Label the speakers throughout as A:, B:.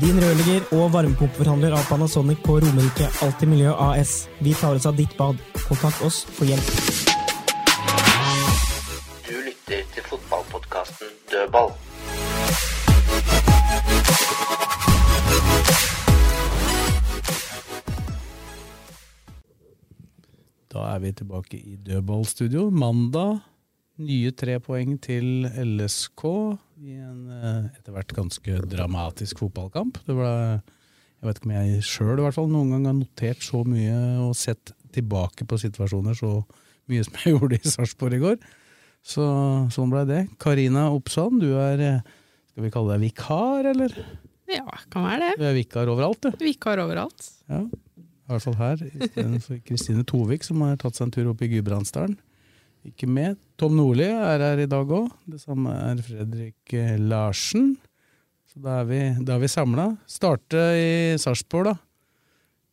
A: Din rørlegger og varmepumpeforhandler av Panasonic på Romerike Alltid Miljø AS. Vi tar oss av ditt bad. Kontakt oss for hjelp.
B: Du lytter til fotballpodkasten Dødball.
C: Da er vi tilbake i dødballstudio. Mandag, nye tre poeng til LSK i en eh, etter hvert ganske dramatisk fotballkamp. Det ble, jeg vet ikke om jeg sjøl noen gang har notert så mye og sett tilbake på situasjoner så mye som jeg gjorde i Sarpsborg i går. Så sånn blei det. Karina Oppsand, du er eh, Skal vi kalle deg vikar, eller?
D: Ja, kan være det.
C: Du er vikar overalt, du.
D: Vikar overalt.
C: Ja, i hvert fall her. Istedenfor Kristine Tovik, som har tatt seg en tur opp i Gudbrandsdalen. Ikke med. Tom Nordli er her i dag òg. Det samme er Fredrik eh, Larsen. Så da er vi, da er vi samla. Starte i Sarpsborg, da.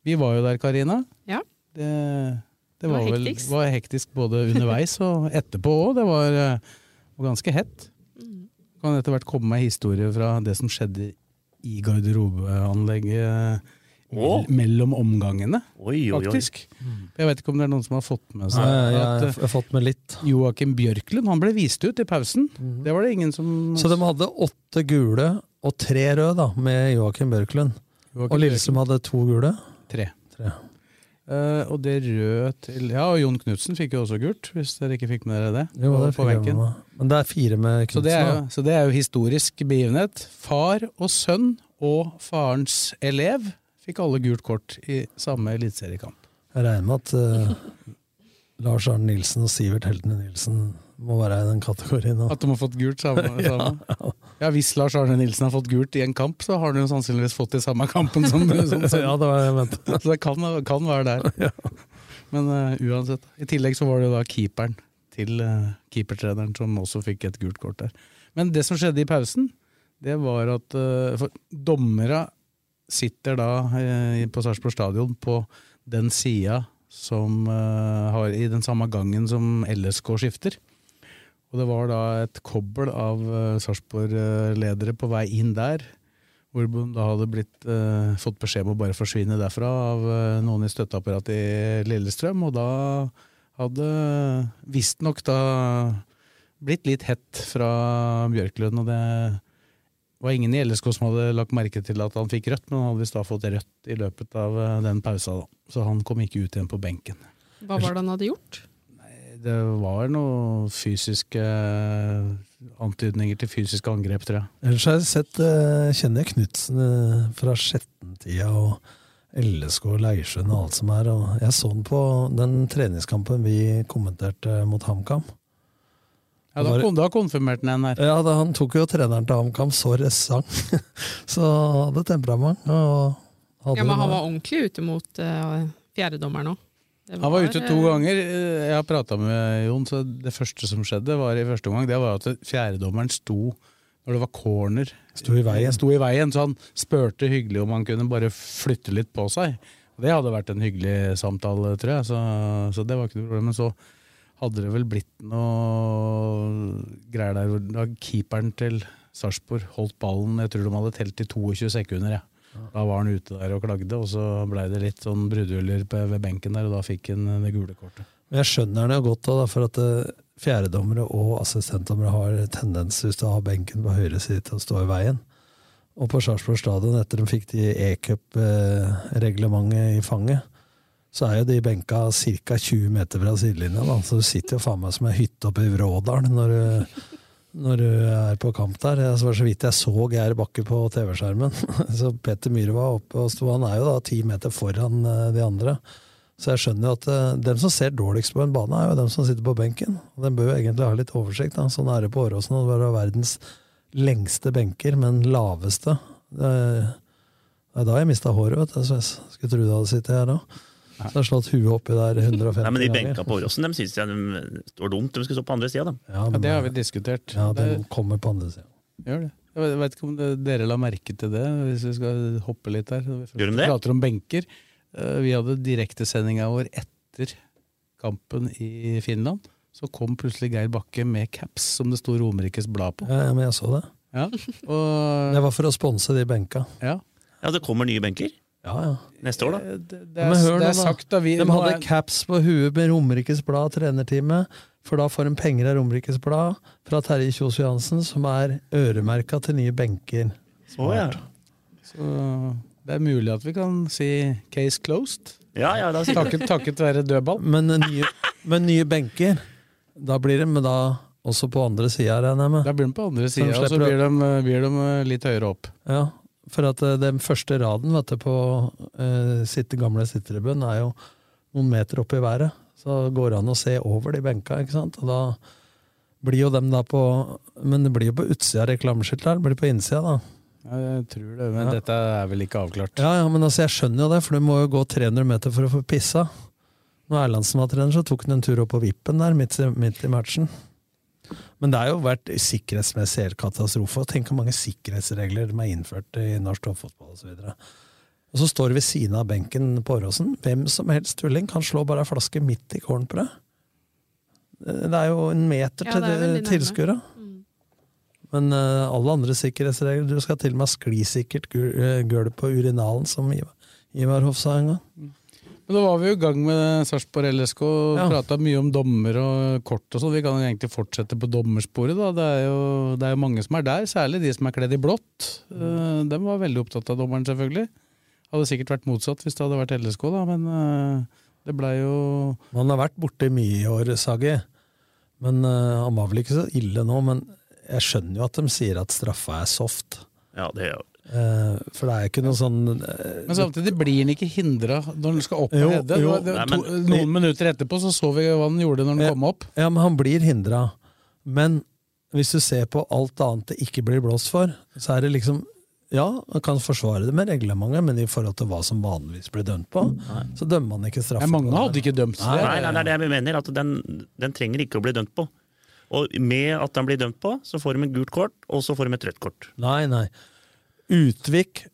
C: Vi var jo der, Karina.
D: Ja.
C: Det, det
D: Det
C: var,
D: var
C: vel
D: hektisk.
C: var hektisk både underveis og etterpå òg. Det var eh, var ganske hett.
D: Mm.
C: Kan etter hvert komme med historier fra det som skjedde i garderobeanlegget
B: Å.
C: mell- mellom omgangene
B: Oi, oi, Hmm. oi.
C: faktisk. Jeg vet ikke om det er noen som har fått med seg
A: jeg
C: at
A: har fått med litt.
C: eh, Joakim Bjørklund han ble vist ut i pausen. Det var det ingen som
A: Mhm. Så de hadde åtte gule og tre røde da, med Joakim Bjørklund.
C: Joakim
A: Og Lillestrøm hadde to gule.
C: Bjørklund, tre.
A: Tre.
C: Eh, og det røde til Ja, og Jon Knutsen fikk jo også gult, hvis dere ikke fikk med dere det.
A: Jo,
C: på-
A: det
C: på
A: fikk jeg
C: benken.
A: med meg. Men det er fire med
C: Så det, er
A: Knutsen.
C: jo, så det er jo historisk begivenhet. Far og sønn og farens elev fikk alle gult kort i samme eliteseriekamp.
A: da. Jeg regner med at eh, Lars Arne Nilsen og Sivert Heltene Nilsen må være i den kategorien. nå.
C: At de har fått gult samme. samme. Ja, Hvis Lars Arne Nilsen har fått gult i en kamp, så har han jo sannsynligvis fått det i samme kampen som, sånn som, som
A: Ja, det var det jeg mente.
C: Så det kan, kan være der. Men eh, uansett. I tillegg så var det jo da keeperen til eh, keepertreneren som også fikk et gult kort der. Men det som skjedde i pausen, det var at eh, for dommere sitter da eh, på Sarpsborg stadion på den sida som eh, har i den samme gangen som LSK skifter. Og det var da et kobbel av eh, Sarpsborg-ledere på vei inn der. Hvor de da hadde blitt, eh, fått beskjed om å bare forsvinne derfra av eh, noen i støtteapparatet i Lillestrøm. Og da hadde visstnok da blitt litt hett fra Bjørklund. Og det var ingen i LSK som hadde lagt merke til at han fikk rødt, men han hadde visst da fått rødt i løpet av eh, den pausa, da. Så han kom ikke ut igjen på benken.
D: Hva var det han hadde gjort?
C: Det var noen fysiske eh, antydninger til fysiske angrep, tror jeg.
A: Ellers har jeg sett, eh, kjenner jeg Knutsen eh, fra Skjetten-tida og LSK og Leirsund og alt som er. Og jeg så den på den treningskampen vi kommenterte mot HamKam.
C: Ja, da,
A: Var det-
C: kon- da konfirmerte han en her.
A: Ja, da, Han tok jo treneren til HamKam så ressang, så han hadde temperament. Og hadde
D: Ja, men Han
A: det.
D: var ordentlig ute mot eh, fjerdedommeren òg.
C: Han var ute to ganger. Eh, Jeg har prata med Jon, så det første som skjedde var i første omgang, det var at fjerdedommeren sto når det var corner.
A: Sto i veien.
C: Sto i veien, så han spurte hyggelig om han kunne bare flytte litt på seg. Og det hadde vært en hyggelig samtale, tror jeg, så, så det var ikke noe problem. Men så hadde det vel blitt noe greier der hvor da keeperen til Sarpsborg holdt ballen, jeg tror de hadde telt i 22 sekunder, jeg. Da var han ute der og klagde, og så blei det litt sånn brudehuller på- ved benken der, og da fikk han det gule kortet.
A: Men jeg skjønner det jo godt, da, for at eh, fjerdedommere og assistentdommere har tendens hvis du har benken på høyre side til å stå i veien. Og på Sarpsborg stadion, etter de fikk de e-cup-reglementet eh, i fanget, så er jo de benka ca. 20 meter fra sidelinja, da. så du sitter jo faen meg som ei hytte oppe i Vrådalen når du, når du er på kamp der. Det var så vidt jeg så Geir Bakke på TV-skjermen. Så Petter Myhre var oppe og sto. Han er jo da ti meter foran eh, de andre. Så jeg skjønner jo at eh, dem som ser dårligst på en bane, er jo dem som sitter på benken. Og den bør jo egentlig ha litt oversikt. Da. Sånn er det på Åråsen. og Det var da verdens lengste benker, men laveste. Det er det er da jeg mista håret, vet du. Sves. Skulle tro du hadde sittet her òg. Så jeg har slått huet oppi der 150
E: Nei, men De
A: ganger.
E: benka på Åråsen, de syns jeg de står dumt. De skulle stå på andre sida, de.
A: Ja,
C: det har vi diskutert.
A: Ja, den kommer på andre sida.
C: Gjør det. Jeg vet ikke om det, dere la merke til det, hvis vi skal hoppe litt her. Når vi
E: Gjør de
C: først
E: det?
C: prater om benker. Eh, Vi hadde direktesendinga vår etter kampen i Finland. Så kom plutselig Geir Bakke med caps som det sto Romerikes Blad på.
A: Ja, ja, men jeg så det.
C: Ja, og...
A: Det var for å sponse de benka.
C: Ja.
E: Ja, det kommer nye benker.
A: Ja, ja.
E: Neste år, da.
C: Det er, det er sagt da vi
A: de
C: nå
A: hadde
C: er-
A: caps på huet med Romerikes Blad trenerteamet, for da får de penger av Romerikes Blad fra Terje Kjos Johansen, som er øremerka til nye benker.
E: Å, ja.
C: Så det er mulig at vi kan si case closed.
E: Ja, ja, da sier vi det.
C: takket, takket være dødball.
A: Men eh, nye, men nye benker, da blir de da også på andre sida, regner jeg med.
C: Da blir de på andre sida, og så
A: slipper å-
C: blir de, blir de litt høyere opp.
A: Ja, for at eh, den første raden vet du, på eh, sitt, gamle sittetribunen er jo noen meter opp i været. Så går det an å se over de benka, ikke sant? Og da blir jo dem da på Men det blir jo på utsida av reklameskiltet her, det blir på innsida, da.
C: Ja, jeg tror det, men
A: Ja.
C: dette er vel ikke avklart.
A: Ja, ja, men altså, jeg skjønner jo det, for du må jo gå 300 meter for å få pissa. Når Erlandsen var trener, så tok han en tur opp på vippen der, midt, i- midt i matchen. Men det har jo vært sikkerhetsmessig helt katastrofe. og Tenk hvor mange sikkerhetsregler de har innført i norsk toppfotball osv. Og så står vi ved siden av benken på Åråsen. Hvem som helst tulling kan slå bare ei flaske midt i cornbrødet. Det er jo en meter
D: Ja,
A: til
D: det er
A: til
D: veldig nærme. Mm.
A: tilskuere. Men eh, alle andre sikkerhetsregler Du skal til og med ha sklisikkert gu- eh, gulv på urinalen, som Ivar, Ivar Hoff sa en gang.
C: Men da var vi jo i gang med Sarpsborg LSK og
A: Ja.
C: prata mye om dommer og kort og sånn. Vi kan jo egentlig fortsette på dommersporet, da. Det er, jo, det er jo mange som er der, særlig de som er kledd i blått. Eh, dem var veldig opptatt av dommeren, selvfølgelig. Hadde sikkert vært motsatt hvis det hadde vært LSK, da, men eh, det blei jo
A: Man har vært borte mye i år, Sagi. Men eh, han var vel ikke så ille nå, men jeg skjønner jo at de sier at straffa er soft.
E: Ja, det er jo
A: Eh, for det er jo ikke noe sånn eh,
C: Men samtidig blir han ikke hindra når han skal opp
A: Jo,
C: og hedde. Det var- det
A: jo. Nei,
C: var to- Noen minutter etterpå så så vi hva han gjorde når han kom opp.
A: Ja, men han blir hindra. Men hvis du ser på alt annet det ikke blir blåst for, så er det liksom Ja, man kan forsvare det med reglementet, men i forhold til hva som vanligvis blir dømt
E: Mm.
A: på, så dømmer man ikke straffe.
C: Nei, mange hadde ikke dømt
E: Nei, nei, nei, det er det jeg mener. At den, den trenger ikke å bli dømt på. Og med at den blir dømt på, så får de et gult kort, og så får de et rødt kort.
A: Nei, nei. Utvik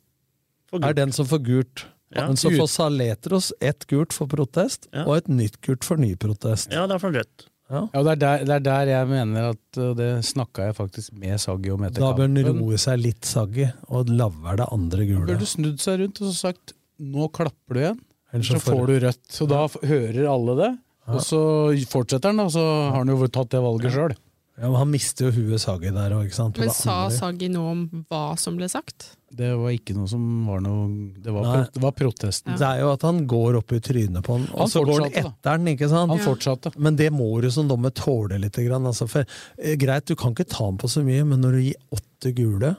A: er den som får gult.
E: Ja.
A: Men så
E: Ut-
A: får Saletros ett gult for protest, og et nytt gult for ny protest.
E: Ja, det er for rødt.
A: Ja.
C: og det er, der, det er der jeg mener at uh, Det snakka jeg faktisk med Saggi om etter
A: Da bør den
C: kampen.
A: roe seg litt, Saggi, og lavere det andre gule.
C: Burde snudd seg rundt og så sagt 'nå klapper du igjen',
A: Ellers
C: ellers
A: så
C: så
A: får
C: får du rødt. Så da f- hører alle det, og så fortsetter han, da, så har han jo tatt det valget sjøl.
A: Ja, men han mister jo huet Saggi der òg, ikke sant? Og
D: Men
A: det
D: sa
A: andre-
D: Saggi noe om hva som ble sagt?
C: Det var ikke noe som var noe Det var,
A: Nei.
C: pro, det var protesten.
A: Det er jo at han går opp i trynet på han, og
C: Han
A: så går han
C: fortsatte, da.
A: etter han, ikke sant?
C: Han Ja. fortsatte.
A: Men det må du som dommer tåle litt. Grann, altså, for, eh, greit, du kan ikke ta han på så mye, men når du gir åtte gule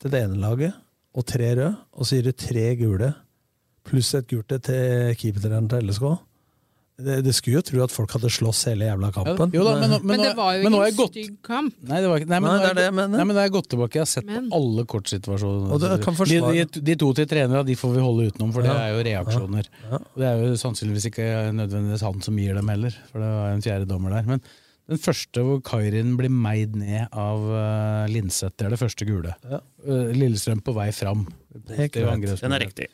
A: til det ene laget, og tre røde, og så gir du tre gule, pluss et gult et til keepertreneren til LSK det, det skulle jo tro at folk hadde slåss hele jævla kampen.
C: Jo da, men, nå-
D: Men
C: nå-
D: det var jo
C: men nå
D: ikke
C: har jeg
D: en
C: gått-
D: stygg kamp.
C: Nei, det var ikke, nei, men
A: Nei,
C: nå har
A: det er det jeg
C: jeg, gått-
A: mener.
C: nei, men da har jeg gått tilbake. Jeg har sett
D: Men-
C: på alle kortsituasjoner.
A: Og det kan
C: de,
A: forsvare-
C: de, de to til trenere de får vi holde utenom, for det
A: Ja.
C: er jo reaksjoner. Og Det er jo sannsynligvis ikke nødvendigvis han som gir dem heller, for det er en fjerde dommer der. Men den første hvor Kairin blir meid ned av uh, Linseth, det er det første gule. Eh, Lillestrøm på vei fram.
A: Helt
C: Positiv
A: klart.
C: angrepsmulighet.
E: Den er riktig.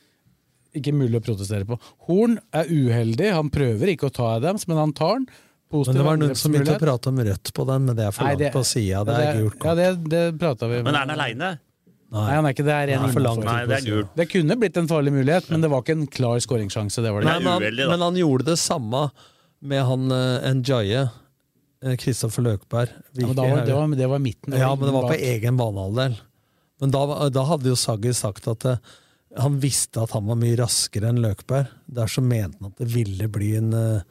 C: Ikke mulig å protestere på. Horn er uheldig, han prøver ikke å ta Adams, men han tar den. Positiv
A: Men det var noen som begynte å
C: angrepsmulighet.
A: prate om rødt på den, men det er for
C: Nei,
A: langt
C: det-
A: på sida. Det
C: Ja,
A: er gult.
C: Ja, det, det prata vi om.
E: Men er den aleine?
C: Nei, han er ikke det. er en
A: Nei, for langt
C: innenfor.
E: Nei, det er gult.
C: Det kunne blitt en farlig mulighet, men det var ikke en klar skåringssjanse. Det var det.
A: Nei, men, han, men han gjorde det samme med han uh, Njaye. eh, Kristoffer Løkberg.
C: Ja, men da var, det, var, det var midten.
A: ja, men det var på
C: bak.
A: egen banehalvdel. Men da, da hadde jo Saggi sagt at eh, han visste at han var mye raskere enn Løkberg. Derfor mente han at det ville bli en, eh,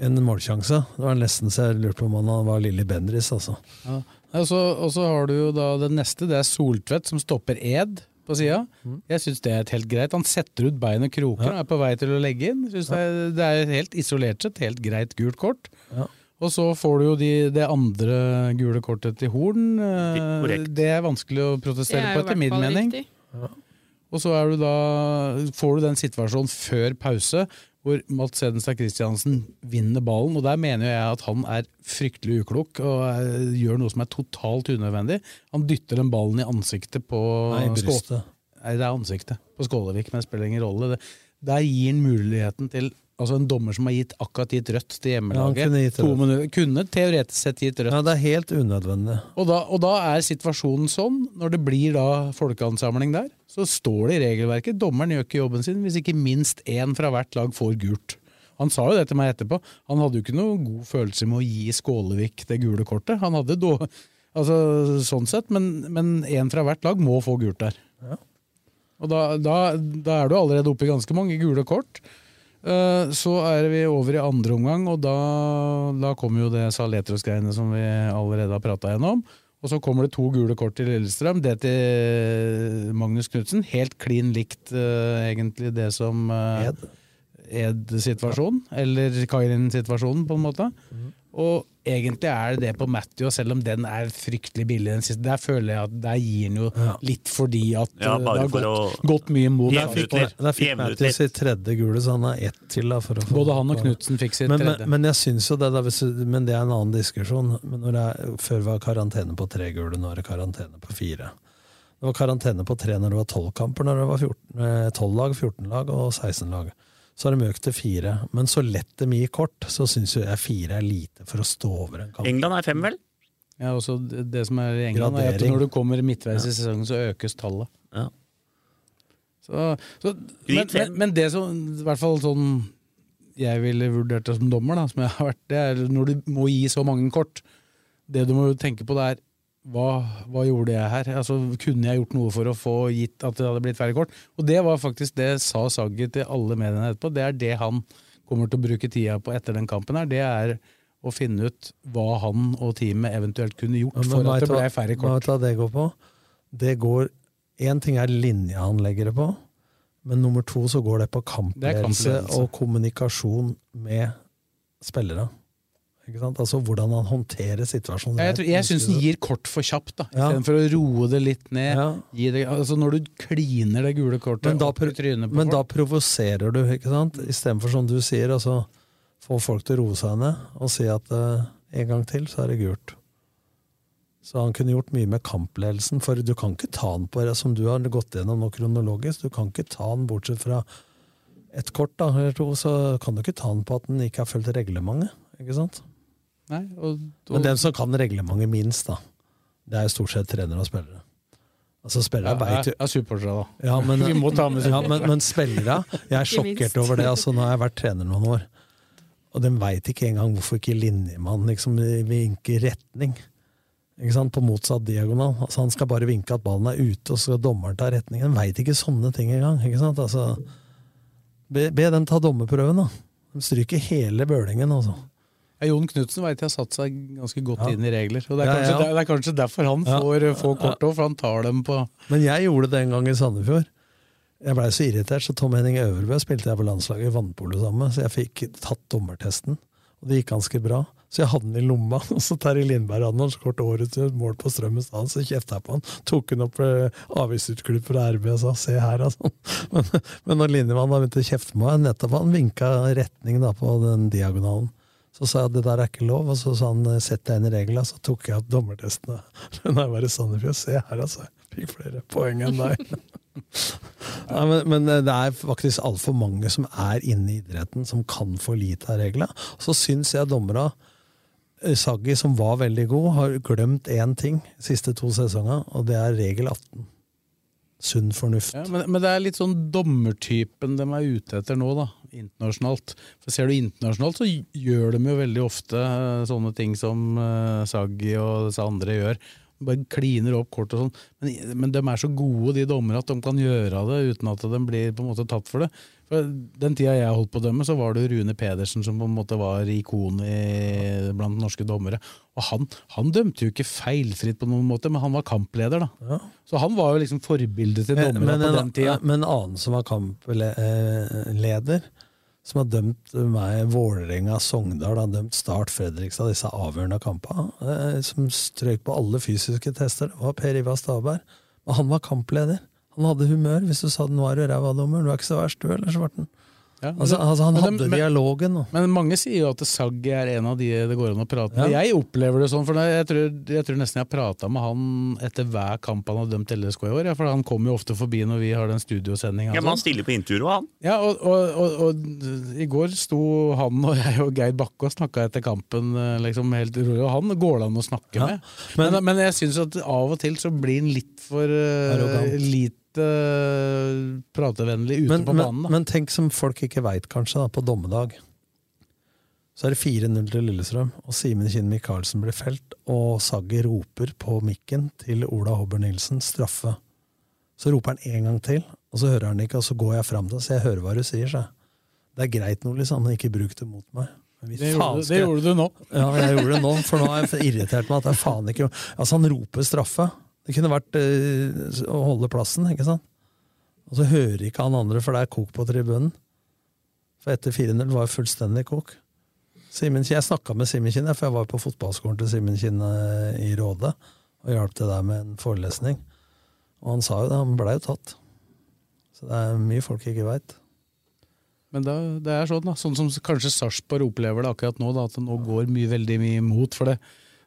A: en målsjanse. Det var nesten så jeg lurte på om han var Lilly Bendriss, altså.
C: Ja. Og så og så har du jo da det neste, det er Soltvedt som stopper Ed på sida. Jeg syns det er et helt greit. Han setter ut bein og kroker og er på vei til å legge inn. Synes det, er, det er helt isolert sett helt greit gult kort. Og så får du jo de, det andre gule kortet til Horn. Eh,
E: Korrekt.
C: Det er vanskelig å protestere
D: jo
C: på, etter
D: i hvert
C: min
D: fall
C: mening.
D: riktig.
C: Og så er du da, får du den situasjonen før pause hvor Mats Hedenstad Christiansen vinner ballen. Og der mener jo jeg at han er fryktelig uklok og eh, gjør noe som er totalt unødvendig. Han dytter den ballen i ansiktet på
A: Nei, i
C: Skå-
A: brystet.
C: Nei, det er ansiktet på Skålevik, men det spiller ingen rolle. Det, der gir han muligheten til Altså En dommer som har gitt, akkurat gitt rødt til hjemmelaget.
A: Ja, han kunne gitt
C: to
A: rødt.
C: minutter, kunne teoretisk sett gitt rødt.
A: Ja, det er helt unødvendig.
C: Og da, og da er situasjonen sånn, når det blir da folkeansamling der, så står det i regelverket dommeren gjør ikke jobben sin hvis ikke minst én fra hvert lag får gult. Han sa jo det til meg etterpå. Han hadde jo ikke noe god følelse med å gi Skålevik det gule kortet. Han hadde då, altså sånn sett, Men men én fra hvert lag må få gult der. Og da, da, da er du allerede oppe i ganske mange gule kort. Eh, Så er vi over i andre omgang, og da, da kommer jo det Saletros-greiene som vi allerede har prata gjennom. Og så kommer det to gule kort til Lillestrøm. Det til Magnus Knutsen. Helt klin likt eh, egentlig det som eh, Ed-situasjonen, eller Kairin-situasjonen, på en måte.
A: Mhm.
C: Og egentlig er det det på Matthew, og selv om den er fryktelig billig, den siste, der føler jeg at der gir den jo litt fordi at
E: Ja,
C: eh,
E: bare
C: det har
E: for
C: gått,
E: å-
C: gått mye mot
E: Jevne ut litt.
A: Der fikk
E: Jevne ut
A: Matthews sitt tredje gule, så han har ett til. Da, for å få
C: Både han og Knutsen fikk sitt
A: men,
C: tredje.
A: Men, men jeg syns jo det, da, hvis, du- men det er en annen diskusjon. Men når det er, før var karantene på tre gule, nå er det karantene på fire. Det var karantene på tre når det var tolv kamper, når det var 14, eh, 12 lag, 14 lag og 16 lag. Så har de økt til fire. Men så lett de gir kort, så syns jo jeg fire er lite for å stå over en kamp.
E: England er fem, vel?
C: Ja, også det det som er i England, er at
A: Gradering.
C: når du kommer midtveis i sesongen, så økes tallet.
E: Ja.
C: Så, så, men,
E: Gryt fem.
C: men, men det som i hvert fall sånn jeg ville vurdert det som dommer, da, som jeg har vært, det er når du må gi så mange kort. Det du må tenke på, det er hva, hva gjorde jeg her? Altså, kunne jeg gjort noe for å få gitt at det hadde blitt færre kort? Og det var faktisk det sa Saggi til alle mediene etterpå. Det er det han kommer til å bruke tida på etter den kampen her. Det er å finne ut hva han og teamet eventuelt kunne gjort
A: Men
C: for
A: vet
C: at det
A: du hva-
C: ble færre
A: men
C: kort.
A: Vet du hva det går på? Det går Én ting er linja han legger det på, men nummer to så går det på
C: Det
A: kampledelse
C: er kampledelse.
A: og kommunikasjon med spillere. Ikke sant? Altså hvordan han håndterer situasjonen.
C: Ja, Jeg, tror- jeg syns den gir kort for kjapt, da.
A: Ja.
C: istedenfor å roe det litt ned.
A: Ja.
C: Gi det, altså når du kliner det gule kortet
A: Men da
C: opp i trynet på
A: Men da
C: folk.
A: provoserer du, ikke sant? Istedenfor som du sier, altså få folk til å roe seg ned og si at eh, en gang til så er det gult. Så han kunne gjort mye med kampledelsen, for du kan ikke ta han på det som du har gått gjennom nå kronologisk. Du kan ikke ta han bortsett fra et kort da, eller to, så kan du ikke ta han på at han ikke har fulgt reglementet. ikke sant?
C: Nei, og, og,
A: Men den som kan reglementet minst, da, det er jo stort sett trenere og spillere. Altså spillere
C: ja,
A: vet jo
C: ja, supportere, da.
A: ja, men,
C: Vi må ta med
A: ja, men, men spillere Jeg er
C: Ikke minst.
A: sjokkert over det. Altså, nå har jeg vært trener noen år, og de veit ikke engang hvorfor ikke linjemannen liksom vinker retning. Ikke sant? På motsatt diagonal. Altså, han skal bare vinke at ballen er ute, og så skal dommeren ta retningen. De veit ikke sånne ting engang. Ikke sant? Altså, be, be den ta dommerprøven, da. De stryker hele bølingen, altså.
C: Ja, Jon Knutsen vet jeg har satt seg ganske godt
A: Ja.
C: inn i regler. Og det er,
A: Ja,
C: kanskje,
A: ja.
C: Det, er, det er kanskje derfor han
A: Ja.
C: får, eh, får kort òg, for han tar dem på
A: Men jeg gjorde det en gang i Sandefjord. Jeg blei så irritert, så Tom Henning Øverbø spilte jeg på landslaget i vannpolo sammen med, så jeg fikk tatt dommertesten. Og det gikk ganske bra. Så jeg hadde den i lomma, og så Terje Lindberg hadde den kort året til et mål på Strømmen stadion, så kjefta jeg på han. Tok han opp eh, avisutklipp fra RB og sa 'se her', altså. Men, men når linjemannen da begynte å kjefte med meg, nettopp han vinka retning da på den diagonalen. Så sa jeg at det der er ikke lov, og så sa han "Eh, sett deg inn i reglene. Så tok jeg opp dommertestene. Men jeg var i Sandefjord. Se her, altså. Jeg Fikk flere poeng enn deg. Nei, men, men eh, det er faktisk altfor mange som er inne i idretten, som kan for lite av reglene. Så syns jeg dommera eh, Saggi, som var veldig god, har glemt én ting de siste to sesongene, og det er regel 18. Sunn fornuft.
C: ja, men, men det er litt sånn dommertypen de er ute etter nå, da. Internasjonalt. For ser du internasjonalt, så gjør de jo veldig ofte eh, sånne ting som eh, Saggi og disse andre gjør. Bare kliner opp kort og sånn. Men, men de er så gode, de dommerne, at de kan gjøre det uten at de blir på en måte tatt for det. For Den tida jeg holdt på å dømme, så var det jo Rune Pedersen som på en måte var ikon i, blant norske dommere. Og han, han dømte jo ikke feilfritt på noen måte, men han var kampleder, da. Så han var jo liksom forbildet til
A: Men, men,
C: dommerne på
A: en,
C: den tida.
A: men en annen som var kampleder, som har dømt meg Vålerenga, Sogndal, har dømt Start Fredrikstad, disse avgjørende kampene, eh, som strøk på alle fysiske tester, det var Per Ivar Stabberg. Men han var kampleder. Han hadde humør. Hvis du sa 'nå er du ræva, dommer', du er ikke så verst, du, eller, Svarten?
C: Ja, men
A: Altså,
C: det-
A: altså, han
C: men det-
A: hadde
C: men-
A: dialogen. og-
C: Men mange sier jo at Saggi er en av de det går an å prate med.
A: Ja.
C: Jeg opplever det sånn, for jeg tror, jeg tror nesten jeg har prata med han etter hver kamp han har dømt LSK i år. Ja, for han kommer jo ofte forbi når vi har den studiosendinga.
E: Ja, men han stiller på intervjuer, og han.
C: Ja, og, og, og, og i går sto han og jeg og Geir Bakke og snakka etter kampen eh, liksom helt rolig, og han går det an å snakke
A: Ja,
C: med. Men, men, jeg syns at av og til så blir han litt for eh,
A: Arrogant.
C: lite eh, pratevennlig ute
A: Men,
C: på banen.
A: men, men tenk som folk ikke veit, kanskje, da, på dommedag. Så er det 4-0 til Lillestrøm, og Simen Kinn Michaelsen blir felt, og Saggi roper på mikken til Ola Hobber Nilsen straffe. Så roper han en gang til, og så hører han det ikke, og så går jeg fram til ham, så jeg hører hva du sier, sa jeg. Det er greit, Nordli, sa han, men ikke bruk det mot meg. Men vi
C: Det
A: faen
C: gjorde-
A: skal-
C: det gjorde du nå.
A: Ja, jeg gjorde det nå, for nå har jeg irritert meg at jeg faen ikke Altså, han roper straffe. Det kunne vært eh, å holde plassen, ikke sant? Og så hører ikke han andre, for det er kok på tribunen. For etter 4-0 var det fullstendig kok. Simen, Kinn- jeg snakka med Simen Kinn, jeg, for jeg var på fotballskolen til Simen Kinn eh, i Råde og hjalp til der med en forelesning. Og han sa jo det, han blei jo tatt. Så det er mye folk ikke veit.
C: Men da, det er sånn da, sånn som kanskje Sarpsborg opplever det akkurat nå, da, at det nå går mye veldig mye imot for det.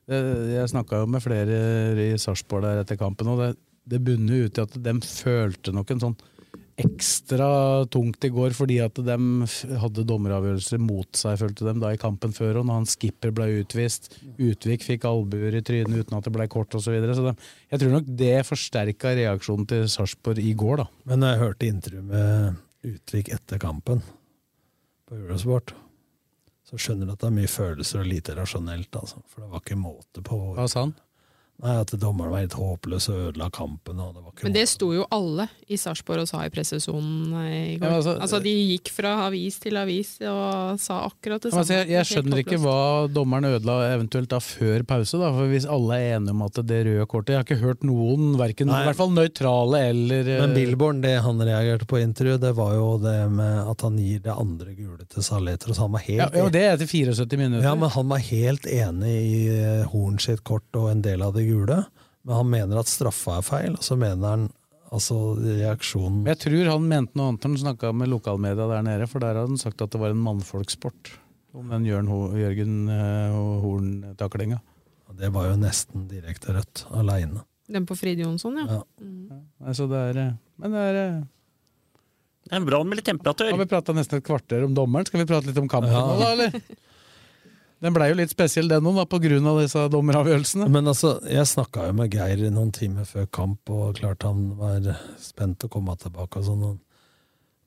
C: Eh, Jeg snakka jo med flere i Sarpsborg der etter kampen, og det, det bunner jo ut i at de følte nok en sånn ekstra tungt i går, fordi at de f- hadde dommeravgjørelser mot seg, følte de, da i kampen før. Og når han skipper ble utvist, Utvik fikk albuer i trynet uten at det ble kort osv. Så, videre, så de, jeg tror nok det forsterka reaksjonen til Sarpsborg i går, da.
A: Men når jeg hørte intervju med Utvik etter kampen på Eurosport, så skjønner du at det er mye følelser og lite rasjonelt, altså. For det var ikke måte på
C: Hva sa han?
A: Nei, At dommeren var helt håpløs og ødela kampen. Og det var ikke
D: Men det sto jo alle i Sarpsborg og sa i pressesonen eh, i går.
C: Ja,
D: altså,
C: altså-
D: de gikk fra avis til avis og sa akkurat det
C: Ja, men
D: samme.
C: altså, jeg, jeg skjønner ikke hva dommeren ødela eventuelt da før pause, da, for hvis alle er enige om at det røde kortet Jeg har ikke hørt noen, hverken, i hvert fall nøytrale eller eh,
A: Men Billborn, det han reagerte på i intervju, det var jo det med at han gir det andre gule til Saleter. Så han var
C: ja,
A: helt
C: ja, Det er etter 74 minutter.
A: Ja, men han var helt enig i eh, Horn sitt kort og en del av det gule, men han mener at straffa er feil, og så mener han altså reaksjonen
C: Men Jeg tror han mente noe annet når han snakka med lokalmedia der nede, for der hadde han sagt at det var en mannfolksport. Om den Jørn Ho Jørgen eh, Ho- Horn-taklinga.
A: Det var jo nesten direkte rødt, aleine.
D: Den på Fride Jonsson, ja.
A: Ja.
D: Mm.
C: Nei, så det er, eh, men det er eh,
E: Det er bra med litt temperatur.
C: Har vi prata nesten et kvarter om dommeren? Skal vi prate litt om kampen nå, da, eller? Den blei jo litt spesiell, den òg, på grunn av disse dommeravgjørelsene.
A: Men altså, jeg snakka jo med Geir noen timer før kamp, og klart han var spent å komme tilbake og sånn. og-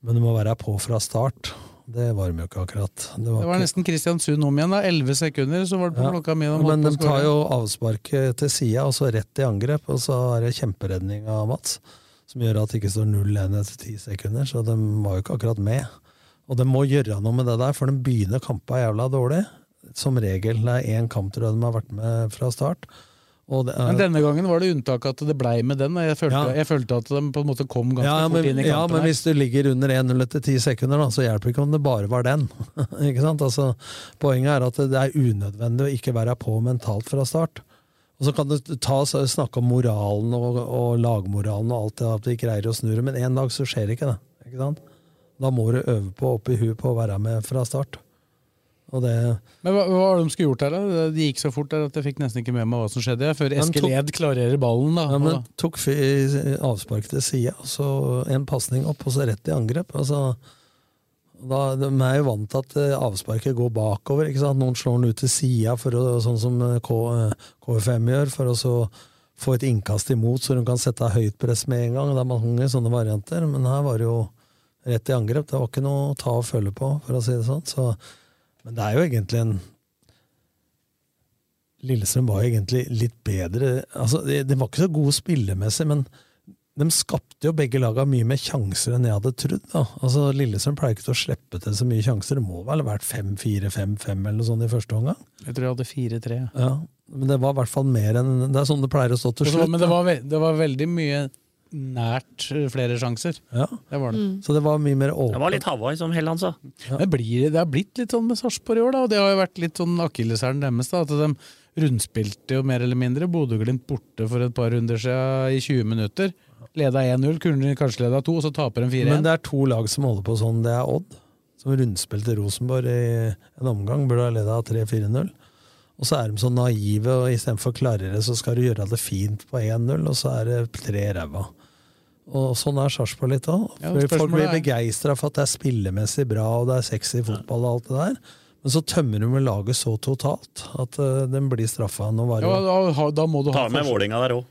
A: Men du må være på fra start. Det var de jo ikke akkurat. Det var
C: Det var
A: ikke-
C: nesten Kristiansund om igjen, da. 11 sekunder, så var det på
A: Ja,
C: klokka mi. de holdt
A: Men
C: på
A: de
C: å
A: tar
C: score.
A: jo avsparket til sida, og så rett i angrep. Og så er det kjemperedning av Mats, som gjør at det ikke står 0-1 etter ti sekunder. Så de var jo ikke akkurat med. Og de må gjøre noe med det der, for de begynner kampa jævla dårlig. Som regel. Det er én kamp tror jeg de har vært med fra start. Og det er,
C: Men denne gangen var det unntak at det blei med den. og Jeg følte,
A: Ja.
C: jeg følte at de på en måte kom ganske
A: ja, men,
C: fort inn i
A: ja,
C: kampen.
A: men
C: her.
A: hvis du ligger under 1-0 etter 10 sekunder, da, så hjelper ikke om det bare var den. ikke sant? Altså, poenget er at det er unødvendig å ikke være på mentalt fra start. Og så kan du ta, så snakke om moralen og, og lagmoralen og alt det at vi greier å snu det, men en dag så skjer ikke det. ikke sant? Da må du øve på oppi huet på å være med fra start. Og det...
C: Men hva, hva var det de skulle gjort her, da? Det gikk så fort der at jeg fikk nesten ikke med meg hva som skjedde. jeg, Før
A: Men tok-
C: Eskil Ed klarerer ballen, da.
A: Ja, men
C: Og da-
A: tok fy- avspark til sida, så en pasning opp, og så rett i angrep. Altså, da, de er jo vant til at eh, avsparket går bakover. Ikke sant? Noen slår den ut til sida, sånn som eh, K, eh, KFM gjør, for å så få et innkast imot, så de kan sette høyt press med en gang. Det er mange sånne varianter, men her var det jo rett i angrep. Det var ikke noe å ta og føle på, for å si det sånn. Så, men det er jo egentlig en Lillestrøm var jo egentlig litt bedre. Altså, de, de var ikke så gode spillemessig, men de skapte jo begge laga mye mer sjanser enn jeg hadde trodd. Da. Altså, Lillestrøm pleier ikke til å slippe til så mye sjanser. Det må vel ha vært 5-4-5-5 eller noe sånt i første omgang.
C: Jeg tror jeg hadde 4-3.
A: Ja, men det var i hvert fall mer enn Det er sånn det pleier å stå til
C: Og så-
A: slutt.
C: Men
A: da.
C: det var, ve- det var veldig mye nært eh, flere sjanser.
A: Ja.
C: Det var det.
A: Så det var mye mer åpent.
E: Det var litt Hawaii, som Helland sa.
C: Det, blir, det har blitt litt sånn med Sarpsborg i år, da, og det har jo vært litt sånn akilleshælen deres. da, At de rundspilte jo mer eller mindre. Bodø-Glimt borte for et par runder siden i 20 minutter. Leda 1-0, kunne kanskje leda 2, og så taper de 4-1.
A: Men det er to lag som holder på sånn. Det er Odd, som rundspilte Rosenborg i en omgang. Burde ha leda 3-4-0. Og så er de så naive, og istedenfor klarere så skal du gjøre det fint på 1-0, og så er det tre ræva. Og sånn er Sarpsborg litt òg.
C: Ja,
A: Folk
C: men
A: blir
C: spørsmålet er-
A: begeistra for at det er spillemessig bra, og det er sexy fotball og alt det der. Men så tømmer de laget så totalt at eh, den blir straffa. Nå var det
C: Ja,
A: jo-
C: da, ha- da må du ha
E: Ta med
C: forsvar-
E: Vålinga der òg.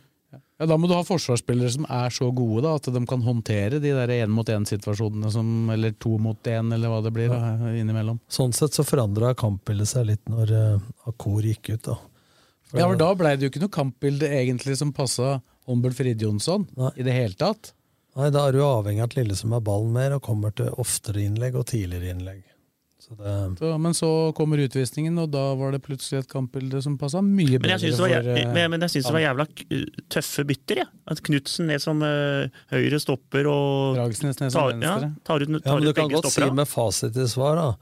C: ja, da må du ha forsvarsspillere som er så gode da, at de kan håndtere de der én mot én-situasjonene, eller to mot én, eller hva det blir da, innimellom.
A: Sånn sett så forandra kampbildet seg litt når eh, Akor gikk ut, da. For
C: Ja, for Da blei det jo ikke noe kampbilde egentlig som passa Humbert Fridjonsson i det hele tatt.
A: Nei, da er du avhengig av at Lillesund har ballen mer og kommer til oftere innlegg og tidligere innlegg. Så det,
C: Så, men så kommer utvisningen, og da var det plutselig et kampbilde som passa mye
E: Men
C: bedre.
E: jeg syns det, var
C: for, eh,
E: jæv- men- men jeg synes det var
C: han.
E: jævla k- tøffe bytter, jeg. At Knutsen ned som eh, høyre stopper og
C: Dragsnes ned som
E: tar,
C: venstre.
E: Ja, tar ut,
A: ja,
E: tar
A: men du
E: ut
A: kan
E: begge
A: godt si
E: stoppere.
A: med fasit i svar, da.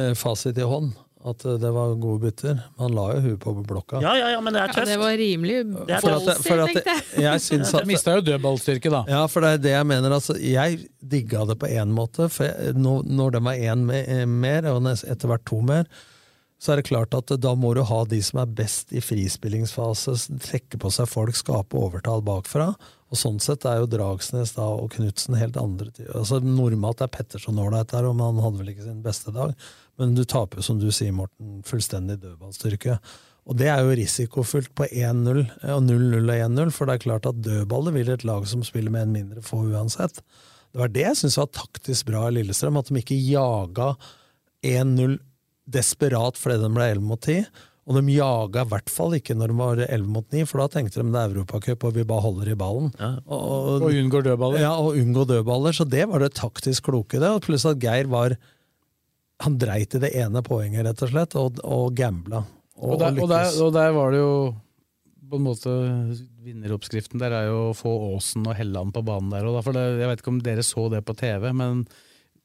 A: Eh, Fasit i hånd. At eh, det var gode bytter. Man la jo huet på blokka.
E: Ja, ja, ja, men det er
D: Ja,
E: tøft.
D: det var rimelig
A: Det er tøft.
D: ballsy,
A: For at- for at-
D: tenkte jeg.
A: jeg syns at-
C: Mista jo dødballstyrke, da.
A: Ja, for det er det jeg mener. Altså, jeg digga det på én måte. For jeg, nå- når det var én me- eh, mer, og nes- etter hvert to mer, så er det klart at da må du ha de som er best i frispillingsfase, s- trekke på seg folk, skape overtall bakfra. Og sånn sett er jo Dragsnes da og Knutsen helt andre ty- Altså Normalt er Petterson ålreit der, og han hadde vel ikke sin beste dag, men du taper jo, som du sier, Morten, fullstendig dødballstyrke. Og det er jo risikofylt på 1-0 og 0-0 og 1-0, for det er klart at dødballer vil et lag som spiller med en mindre få uansett. Det var det jeg syns var taktisk bra i Lillestrøm, at de ikke jaga 1-0 desperat fordi de ble 11 mot 10. Og de jaga i hvert fall ikke når de var 11 mot 9, for da tenkte de det er Europacup og vi bare holder i ballen.
C: Og unngår dødballer.
A: Ja, og unngå dødballer. Så det var det taktisk kloke i det. og Pluss at Geir var Han dreit i det ene poenget, rett og slett, og, og gambla.
C: Og, der, og, der,
A: lykkes.
C: og der var det jo på en måte Vinneroppskriften der er jo å få Aasen og Helland på banen der. Og da, for det, jeg vet ikke om dere så det på TV, men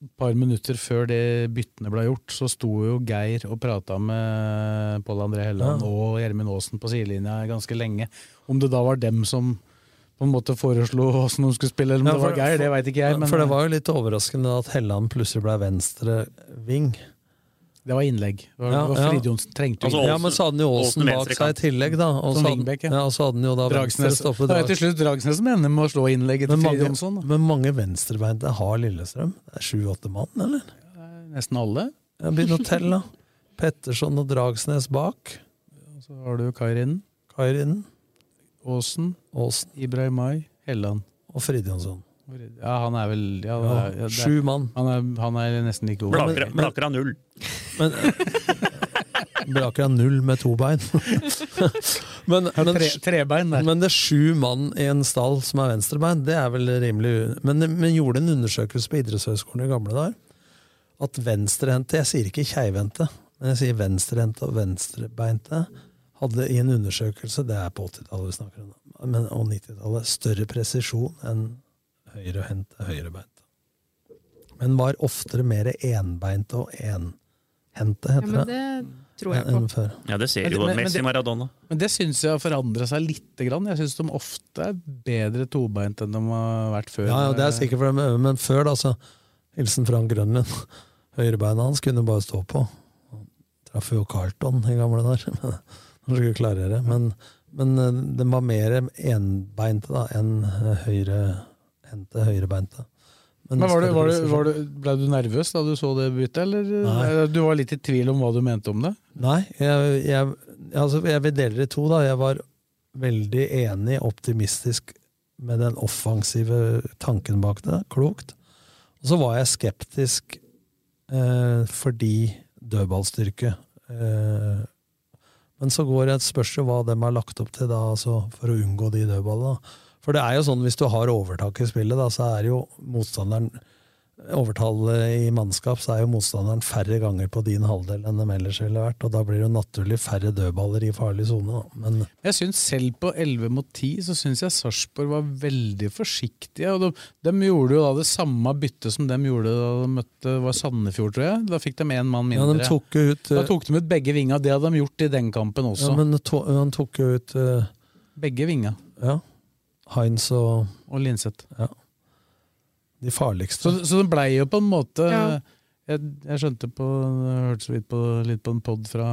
C: et par minutter før det byttene ble gjort, så sto jo Geir og prata med Pål André Helland
A: Ja.
C: og Gjermund Aasen på sidelinja ganske lenge. Om det da var dem som på en måte foreslo åssen de skulle spille, eller om
A: Ja,
C: det var Geir, det veit ikke jeg. Men
A: For det var jo litt overraskende at Helland plutselig ble venstreving.
C: det var innlegg. Det var,
A: Ja,
C: det var
A: ja.
C: Frid Johnsen trengte jo
A: ja, men så hadde han jo Aasen bak seg i tillegg, da. Og
C: Som
A: så hadde,
C: wingback, ja.
A: ja, og så hadde han jo da venstre
C: Dragsnes.
A: stoppet
C: Det er til slutt sånn, Dragsnes som ender med å slå innlegget
A: Men
C: til Frid
A: mange,
C: Johnsen.
A: men mange venstrebeinte har Lillestrøm? Det er sju-åtte mann, eller?
C: Nesten alle.
A: Ja, Begynn å telle, da. Petterson og Dragsnes bak.
C: Og Så har du Kairinen,
A: Kairinen,
C: Aasen,
A: Aasen
C: Ibrahimai, Helland.
A: og Fridjonsson.
C: Ja, han er vel ja, det
A: Ja,
C: er, ja, det er,
A: sju mann.
C: Han er, han er nesten like god.
E: Blaker, blaker av null.
A: Men Braker han null med to bein. men,
C: Ja,
A: men,
C: tre, trebein der.
A: Men det er sju mann i en stall som er venstrebein, det er vel rimelig u- Men vi gjorde en undersøkelse på idrettshøyskolen i gamle dager. At venstrehendte, jeg sier ikke keivhendte, men jeg sier venstrehendte og venstrebeinte, hadde i en undersøkelse, det er på 80-tallet vi snakker om, da, men, og 90-tallet, større presisjon enn høyrehendte, høyrebeinte. Men var oftere mer enbeinte og enhendte,
D: Ja,
A: heter
D: men
A: det,
D: det tror jeg
A: enn
D: på.
A: før.
E: Ja, det ser
C: Men-
E: du jo.
C: men- men
E: Messi
C: det-
E: Maradona.
C: Men det syns jeg har forandra seg lite grann. Jeg syns de ofte er bedre tobeint enn de har vært før.
A: Ja, ja, det er sikkert for dem, men før da, så Hilsen Frank Grønlund. Høyrebeina hans kunne bare stå på. Traff jo Carlton i gamle dager. men Han skulle klare det. Men, men eh, den var mer enbeinte da, enn eh, høyrehendte, høyrebeinte.
C: Men var du, var du, var du, Ble du nervøs da du så det byttet, eller?
A: Nei.
C: Du var litt i tvil om hva du mente om det?
A: Nei, jeg, jeg, altså, jeg vil dele det i to. da. Jeg var veldig enig, optimistisk med den offensive tanken bak det. Klokt. Og så var jeg skeptisk eh, fordi dødballstyrke. Eh, Men så går det et spørsmål hva de har lagt opp til da, altså for å unngå de dødballene. For det er jo sånn, hvis du har overtak i spillet, da, så er jo motstanderen Overtallet i mannskap, så er jo motstanderen færre ganger på din halvdel enn de ellers ville vært, og da blir det jo naturlig færre dødballer i farlig sone. da. Men
C: Jeg synes Selv på 11 mot 10 så syns jeg Sarpsborg var veldig forsiktige. og de, de gjorde jo da det samme byttet som de gjorde da de møtte det var Sandefjord, tror jeg. Da fikk de én mann
A: Ja,
C: mindre.
A: de tok jo ut, eh,
C: da tok de ut begge vinga. Det hadde de gjort i den kampen også.
A: Ja, men to, han tok jo ut eh,
C: Begge vinga.
A: Ja. Heinz og
C: Og Linseth.
A: Ja. De farligste.
C: Så, så det blei jo på en måte
A: Ja.
C: jeg, jeg skjønte på jeg hørte så vidt på, litt på en pod fra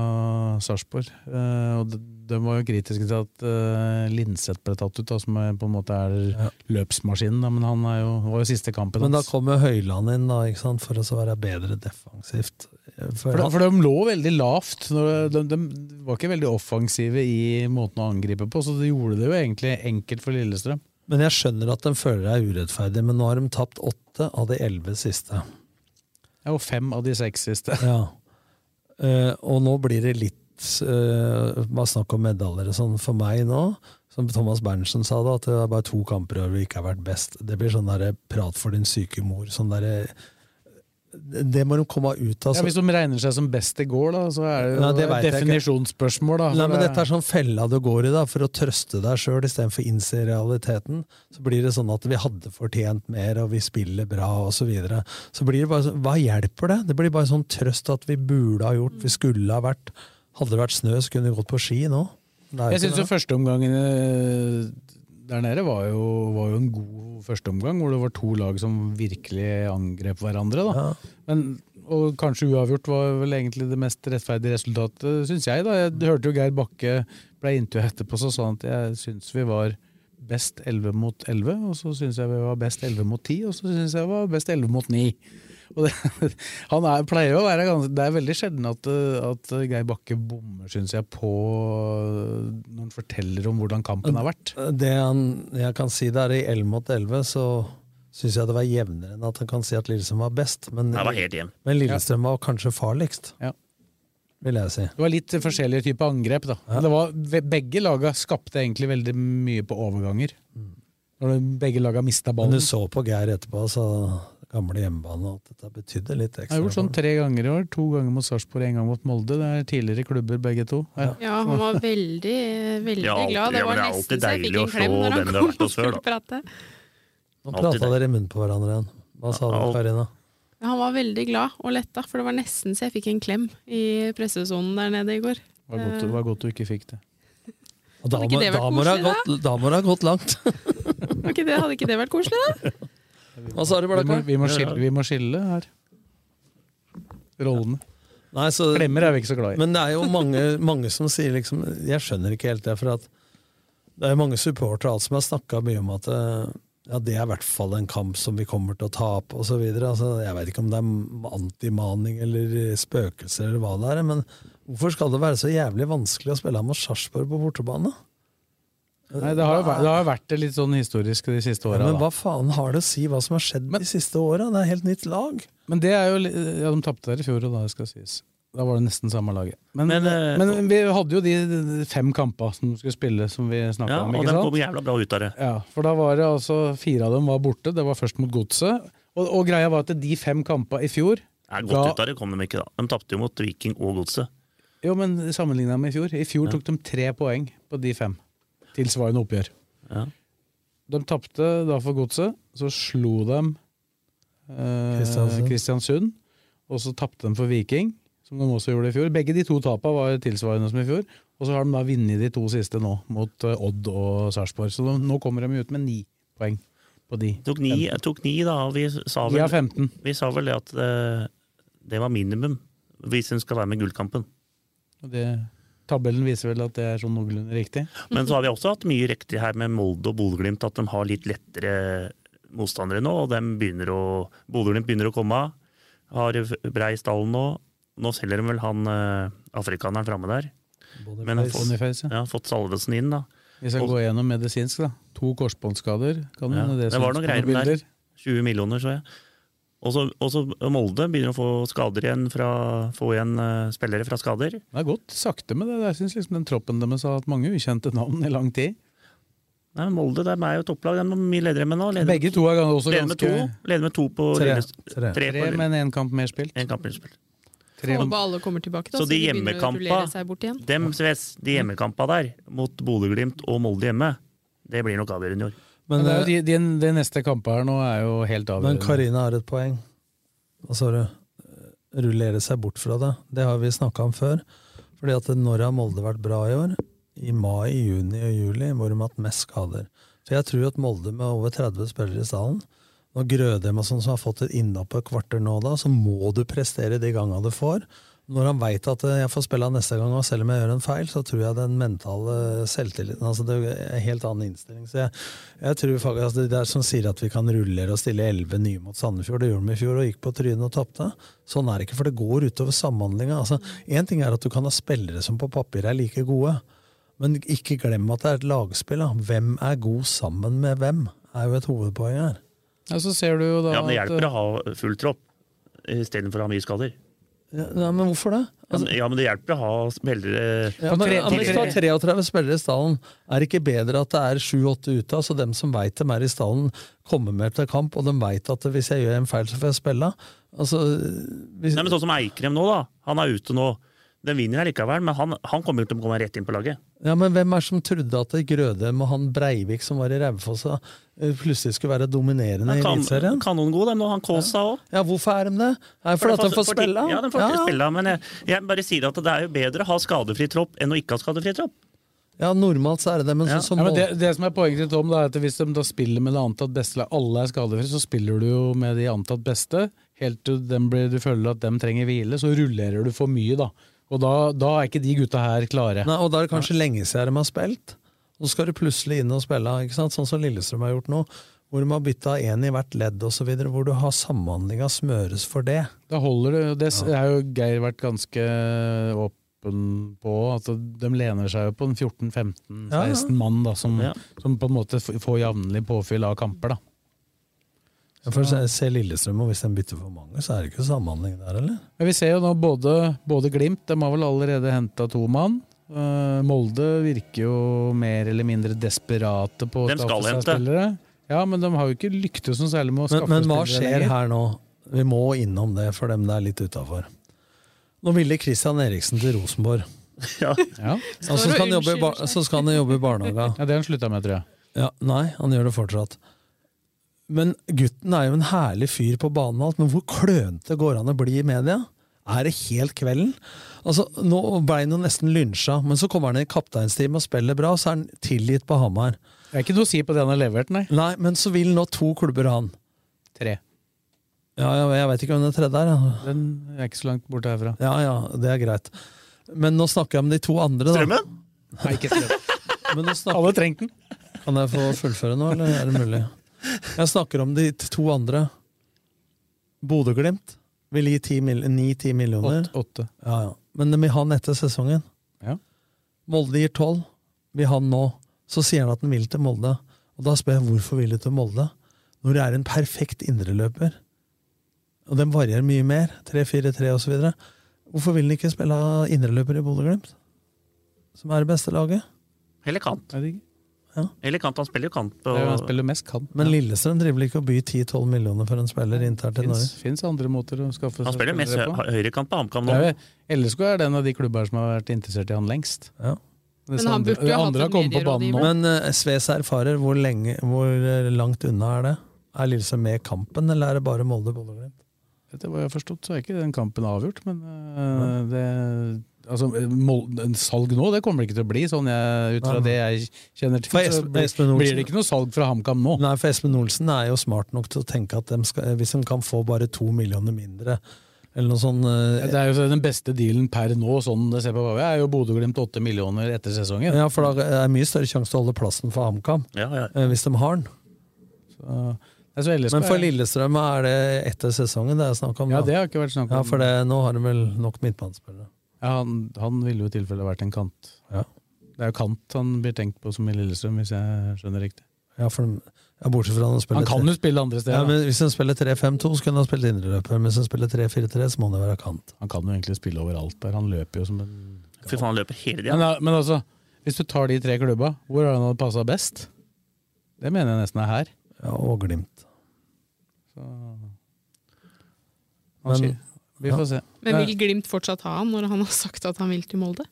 C: Sarpsborg. eh, og de, de var jo kritiske til at eh, Linseth ble tatt ut, da, som er, på en måte er løpsmaskinen. Da, men han er jo, var jo siste kampen
A: Men da
C: hans.
A: kom jo Høyland inn da, ikke sant, for å så være bedre defensivt.
C: For, de- for de lå veldig lavt. når De, de, de var ikke veldig offensive i måten å angripe på, så det gjorde det jo egentlig enkelt for Lillestrøm.
A: Men jeg skjønner at de føler det er urettferdig, men nå har de tapt åtte av de elleve siste.
C: Ja, og fem av de seks siste.
A: Ja. Eh, og nå blir det litt eh, bare snakk om medaljer og sånn. For meg nå, som Thomas Berntsen sa da, at det er bare to kamper hvor vi ikke har vært best. Det blir sånn derre prat for din syke mor. Sånn derre Det må de komme ut av.
C: ja, hvis de regner seg som best i går, da, så er det jo
A: Altså- Nei, det
C: et
A: vet jeg ikke.
C: definisjonsspørsmål. Da,
A: Nei,
C: for
A: men
C: det-
A: Dette er sånn fella du går i da, for å trøste deg sjøl istedenfor å innse realiteten. Så blir det sånn at vi hadde fortjent mer, og vi spiller bra osv. Så, videre. så blir det bare sånn, hva hjelper det? Det blir bare sånn trøst at vi burde ha gjort, vi skulle ha vært. Hadde det vært snø, så kunne vi gått på ski nå. Det er jo
C: Jeg
A: ikke
C: syns jo
A: det.
C: førsteomgangen eh, der nede var jo, var jo en god førsteomgang, hvor det var to lag som virkelig angrep hverandre. Da. Men, og kanskje uavgjort var vel egentlig det mest rettferdige resultatet, syns jeg. Da. Jeg hørte jo Geir Bakke ble intervjuet etterpå, så sa han at jeg syns vi var best 11 mot 11, og så syns jeg vi var best 11 mot 10, og så syns jeg vi var best 11 mot 9. Og det, han er, pleier jo å være ganske, Det er veldig sjelden at, eh, at Geir Bakke bommer, syns jeg, på eh, når han forteller om hvordan kampen har vært.
A: Det han, jeg kan si der, i 11 mot 11 så syns jeg det var jevnere enn at han kan si at Lillestrøm var best. Men,
E: Det var helt jevn.
A: men Lillestrøm var kanskje farligst,
C: Ja.
A: vil jeg si.
C: Det var litt forskjellige typer angrep. da. Men Det var, ve- begge laga skapte egentlig veldig mye på overganger. Når det- begge laga mista ballen.
A: Men du så på Geir etterpå, sa gamle hjemmebane, at dette betydde litt
C: Jeg har
A: ekstra.
C: gjort sånn tre ganger i år. To ganger mot Sarpsborg, én gang mot Molde. Det er tidligere klubber, begge to. Ja,
D: Ja, han var veldig, veldig
E: Ja, alltid-
D: glad. Det
E: ja, men
D: var
E: det er
D: nesten
E: alltid
D: så jeg fikk
E: deilig å
D: en klem
E: se
D: når
E: den
D: han
E: det har vært
D: kom og
E: hos før,
D: skulle prate.
A: Nå
E: Alltid
A: prata
E: det.
A: dere i munnen på hverandre igjen. Hva sa du,
E: Ja, alt-
A: Karina?
D: Han var veldig glad og letta, for det var nesten så jeg fikk en klem i pressesonen der nede i går.
C: Det var godt, det var godt du ikke fikk det.
A: Og da
D: Hadde ikke
A: må-
D: det vært
A: da må det ha
D: koselig,
A: gått- da må det ha gått langt.
D: Var ikke det, hadde ikke det vært koselig, da?
A: Hva sa du,
C: Vi må,
A: Blakkar?
C: vi, må skille, vi må skille her. Rollene.
A: Nei, så-
C: Klemmer er vi ikke så glad i.
A: Men det er jo mange, mange som sier liksom Jeg skjønner ikke helt det, for at det er jo mange supportere og alt som har snakka mye om at eh, ja, det er i hvert fall en kamp som vi kommer til å tape, osv. Altså, jeg vet ikke om det er antimaning eller spøkelser eller hva det er, men hvorfor skal det være så jævlig vanskelig å spille mot Sarpsborg på bortebane?
C: Nei, det har jo vært, det har jo vært det litt sånn historisk de siste
A: Ja,
C: åra.
A: men hva faen har det å si hva som har skjedd de siste åra? Det er helt nytt lag.
C: Men det er jo li- Ja, de tapte der i fjor, og da skal sies. Da var det nesten samme laget. Men, men,
E: eh,
C: vi hadde jo de de fem kampa som skulle spille, som vi snakka
E: Ja,
C: om.
E: og
C: ikke
E: den
C: sant?
E: kom jævla bra ut av det.
C: Ja, for da var det altså fire av dem var borte. Det var først mot Godset. Og, og greia var at de fem kampa i fjor
E: Ja, godt
C: ga-
E: ut av det kom de ikke, da. De tapte jo mot Viking og Godset.
C: Jo, men sammenligna med i fjor. I fjor tok de tre poeng på de fem. Tilsvarende oppgjør.
E: Ja.
C: De tapte da for Godset, så slo de eh,
A: Kristiansund.
C: Kristiansund. Og så tapte de for Viking, som de også gjorde i fjor. Begge de to tapene var tilsvarende som i fjor. Og så har de da vunnet de to siste nå, mot eh, Odd og Sarpsborg. Så de, nå kommer de ut med ni poeng på de.
E: Tok ni, jeg tok ni da, og vi sa
C: Ni
E: vel,
C: av 15.
E: vi sa vel det at eh, det var minimum hvis hun skal være med i gullkampen.
C: Og det, tabellen viser vel at det er sånn noenlunde riktig.
E: Men så har vi også hatt mye riktig her med Molde og Bodø-Glimt, at de har litt lettere motstandere nå, og de begynner å Bodø-Glimt begynner å komme av. Har brei stall nå. Nå selger de vel han eh, afrikaneren framme der. Men har fått,
C: Boniface,
E: ja, fått Salvesen inn, da.
C: Vi skal
E: Og-
C: gå gjennom medisinsk, da. To korsbåndskader. Kan
E: Ja,
C: det
E: det
C: synes
E: var noe
C: på
E: greier
C: noen
E: med
C: bilder.
E: der. 20 millioner, så jeg. Og så, og så Molde begynner å få skader igjen fra, få igjen eh, spillere fra skader.
C: Det har gått sakte med det. Jeg syns liksom den troppen deres har hatt mange ukjente navn i lang tid.
E: Nei, men Molde det er jo topplag. De er mye ledere med nå. Leder,
C: Begge to er gan- også
E: leder med
C: ganske-
E: to, leder med to på
C: Tre.
E: Lillestrøm.
C: Tre.
E: Tre på
C: Tre,
E: Lille-
C: men én kamp mer spilt.
E: En kamp mer spilt.
D: Håper alle kommer tilbake, da,
E: Så de
D: begynner å rullere
E: hjemmekampa
D: seg bort igjen.
E: dem, Sves, de hjemmekampa der, mot Bodø-Glimt og Molde hjemme, det blir nok avgjørende i år.
C: Men, det er jo de, de, de neste kampene her nå er jo helt
A: Men
C: avgjørende.
A: Karina har et poeng. Hva sa du? eh, Rullere seg bort fra det. Det har vi snakka om før. Fordi at når har Molde vært bra i år? I mai, juni og juli, hvor de har hatt mest skader. Så jeg tror at Molde med over 30 spillere i stallen Når Grødem og sånn som har fått et innhopp på et kvarter nå, da, så må du prestere de gangene du får. Når han veit at eh, jeg får spille han neste gang, og selv om jeg gjør en feil, så tror jeg den mentale selvtilliten altså Det er en helt annen innstilling. Så jeg, jeg tror faktisk altså Det der som sier at vi kan rullere og stille elleve nye mot Sandefjord, det gjorde de i fjor og gikk på trynet og tapte. Sånn er det ikke, for det går utover samhandlinga. Altså, Én ting er at du kan ha spillere som på papir er like gode, men ikke glem at det er et lagspill. Da. Hvem er god sammen med hvem, er jo et hovedpoeng her.
C: Ja, så ser du jo da
E: Ja, men Det hjelper
C: at,
E: å ha full tropp istedenfor å ha mye skader.
A: Ja, nei, men hvorfor det?
E: Ja, men- ja, men det hjelper å ha spillere
C: eh,
A: Ja, men, ja, men Hvis du har 33 spillere i stallen, er det ikke bedre at det er 7-8 ute? Altså dem som veit dem er i stallen, kommer med til kamp, og de veit at hvis jeg gjør en feil, så får jeg spille. Altså, hvis,
E: Nei, men Sånn som Eikrem nå, da. Han er ute nå. Den vinner likevel, men han, han kommer jo til å komme rett inn på laget.
A: ja, men hvem er det som trodde at Grødem og han Breivik som var i Raufoss, da, eh, plutselig skulle være dominerende i
E: Han kan-
A: Eliteserien?
E: Kanongode, dem nå. Han Kåsa òg.
A: Ja, hvorfor er de det? Er det fordi at de får spille?
E: Ja, de får ikke spille, men jeg, jeg bare sier at det er jo bedre å ha skadefri tropp enn å ikke ha skadefri tropp.
A: Ja, normalt så er det det, men sånn som
C: ja, men det, det som er poenget til Tom, da, er at hvis de da spiller med det antatt beste lag, alle er skadefrie, så spiller du jo med de antatt beste, helt til dem blir, du føler at dem trenger hvile, så rullerer du for mye, da. Og da, da er ikke de gutta her klare.
A: Nei, og da er det kanskje lenge siden de har spilt. Og så skal du plutselig inn og spille, ikke sant? sånn som Lillestrøm har gjort nå. Hvor de har bytta én i hvert ledd osv., hvor du har samhandlinga smøres for det.
C: Da holder det. Det s- er jo Geir vært ganske åpen på. At de lener seg jo på en 14-15-16
A: Ja, ja.
C: mann da, som,
A: Ja.
C: som på en måte f- får jevnlig påfyll av kamper. da.
A: Ja, For se, se Lillestrøm, og hvis de bytter for mange, så er det ikke samhandling der, eller?
C: Men vi ser jo nå både, både Glimt, de har vel allerede henta to mann. Eh, Molde virker jo mer eller mindre desperate på å
E: De skal
C: skaffe seg
E: hente.
C: spillere. Ja, men de har jo ikke lyktes noe særlig med
A: Men,
C: å skaffe
A: men hva
C: spillere
A: skjer
C: lenger.
A: her nå? Vi må innom det for dem det er litt utafor. Nå ville Christian Eriksen til Rosenborg.
E: Ja.
C: Ja.
A: Og så skal han jobbe i bar- så skal han jobbe i barnehaga.
C: Ja, det har han slutta med, tror jeg.
A: Ja, nei, han gjør det fortsatt. Men gutten er jo en herlig fyr på banen, og alt, men hvor klønete går han å bli i media? Er det helt kvelden? Altså, Nå ble han jo nesten lynsja, men så kommer han i kapteinsteam og spiller bra, og så er han tilgitt på Hamar.
C: Det er ikke noe å si på det han har levert, nei.
A: Nei, men så vil nå to klubber ha han.
C: Tre.
A: Ja, jeg, jeg veit ikke hvem den tredje er. ja.
C: Den er ikke så langt borte herfra.
A: Ja ja, det er greit. Men nå snakker jeg om de to andre, da.
E: Strømmen?
C: Nei, ikke strøm.
A: Men nå snakker...
C: Alle trengte den.
A: Kan jeg få fullføre nå, eller er det mulig? Jeg snakker om de to andre. Bodø-Glimt vil gi 10 mil- 9-10 millioner.
C: Åtte. åtte.
A: Ja, ja. Men de vil ha den etter sesongen.
C: Ja.
A: Molde gir 12, vil ha den nå. Så sier han at han vil til Molde. Og da spør jeg hvorfor vil du til Molde? Når det er en perfekt indreløper, og den varierer mye mer, 3-4-3 osv., hvorfor vil han ikke spille indreløper i Bodø-Glimt? Som er det beste laget?
E: Eller kant.
C: Jeg vet ikke.
E: Eller kant, han spiller jo kant.
C: Det
E: På,
C: er jo han spiller mest kant.
A: Men Lillestrøm driver ikke å by 10-12 millioner for en spiller internt i Norge.
C: Fins, fins andre måter å skaffe
E: han spiller mest hø
C: på.
E: høyrekant på HamKam
C: Det
E: nå.
C: er jo- LSK er den av de klubber som har vært interessert i han lengst.
A: Ja.
C: Det
D: Men han
C: andre-
D: burde jo
C: det
D: hatt
C: andre
D: en
C: har kommet på banen nå.
D: medierådgiver.
A: Men eh, Sves erfarer, hvor, lenge, hvor eh, langt unna er det? Er Lillestrøm med i kampen, eller er det bare Molde? Bodø-Glimt?
C: Etter hva jeg har forstått, så er ikke den kampen avgjort, men øh, det Altså, mål, en salg nå, det kommer det ikke til å bli, sånn jeg, ut fra
A: Nei.
C: det jeg kjenner til.
A: For
C: Så
A: Espen-
C: blir,
A: Espen Olsen-
C: blir det ikke noe salg fra HamKam nå?
A: Nei, for Espen Olsen er jo smart nok til å tenke at dem skal, eh, hvis de kan få bare to millioner mindre, eller noe sånn eh,
C: Det er jo den beste dealen per nå, sånn det ser på papiret, er jo Bodø-Glimt åtte millioner etter sesongen.
A: Ja, for da eh, er det mye større sjanse til å holde plassen for HamKam,
E: Ja, ja.
A: eh, hvis de har den.
C: Så, Nei, så LSK
A: Men for
C: er-
A: Lillestrøm er det etter sesongen det er snakk om.
C: Ja,
A: da.
C: det har ikke vært snakk om.
A: ja, for det, nå har de vel nok midtbanespillere.
C: Ja, han, han ville jo i tilfelle vært en kant.
A: Ja.
C: Det er jo kant han blir tenkt på som i Lillestrøm, hvis jeg skjønner riktig.
A: Ja, for de, Ja, bortsett fra når han spiller
C: Han kan
A: tre-
C: jo spille andre steder,
A: Ja,
C: da.
A: men Hvis han spiller 3-5-2, så kunne han spilt indreløper. men Hvis han spiller 3-4-3, så må han jo være kant.
C: Han kan jo egentlig spille overalt der. Han løper jo som en
E: Fy faen, han løper hele tida.
C: Men, al- men altså, hvis du tar de tre klubba, hvor har han hadde passa best? Det mener jeg nesten er her.
A: Ja, og Glimt.
C: Så...
A: Men-
C: Men, vi får se.
D: Men vil Glimt fortsatt ha han når han har sagt at han vil til Molde?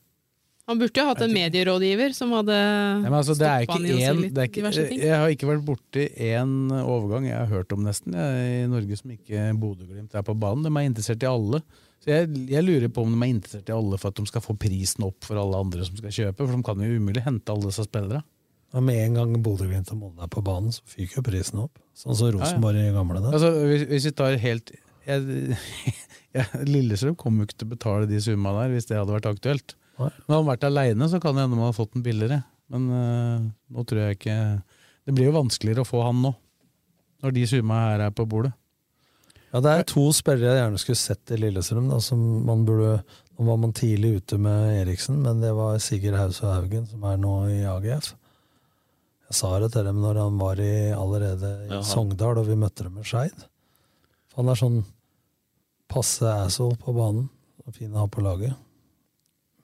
D: Han burde jo ha hatt en medierådgiver som hadde
C: Nei, men altså, det er
D: stoppet
C: ikke
D: han i å si
C: én
D: litt
C: det er ikke,
D: diverse
A: eh,
D: ting.
C: Jeg har ikke vært borti én overgang jeg har hørt om nesten jeg, i Norge som ikke Bodø-Glimt er på banen. De er interessert i alle. Så jeg, jeg lurer på om de er interessert i alle for at de skal få prisen opp for alle andre som skal kjøpe, for de kan jo umulig hente alle disse spillerne.
A: Ja, med en gang Bodø-Glimt og Molde er på banen, så fyker jo prisen opp. Sånn som Rosenborg i gamle dager.
C: Altså, hvis, hvis vi tar helt jeg, jeg, Lillestrøm kommer jo ikke til å betale de summa der hvis det hadde vært aktuelt.
A: Nei.
C: Men hadde han vært aleine, så kan det hende man hadde fått den billigere. Men øh, nå tror jeg ikke Det blir jo vanskeligere å få han nå, når de summa her er på bordet.
A: Ja, det er to spillere jeg gjerne skulle sett i Lillestrøm. Da, som man burde, nå var man tidlig ute med Eriksen, men det var Sigurd Hause Haugen, som er nå i AGF. Jeg sa det til dem når han var i, allerede i
E: Ja.
A: Sogndal, og vi møtte dem med Skeid. For Han er sånn passe asshole på banen, og fin å ha på laget.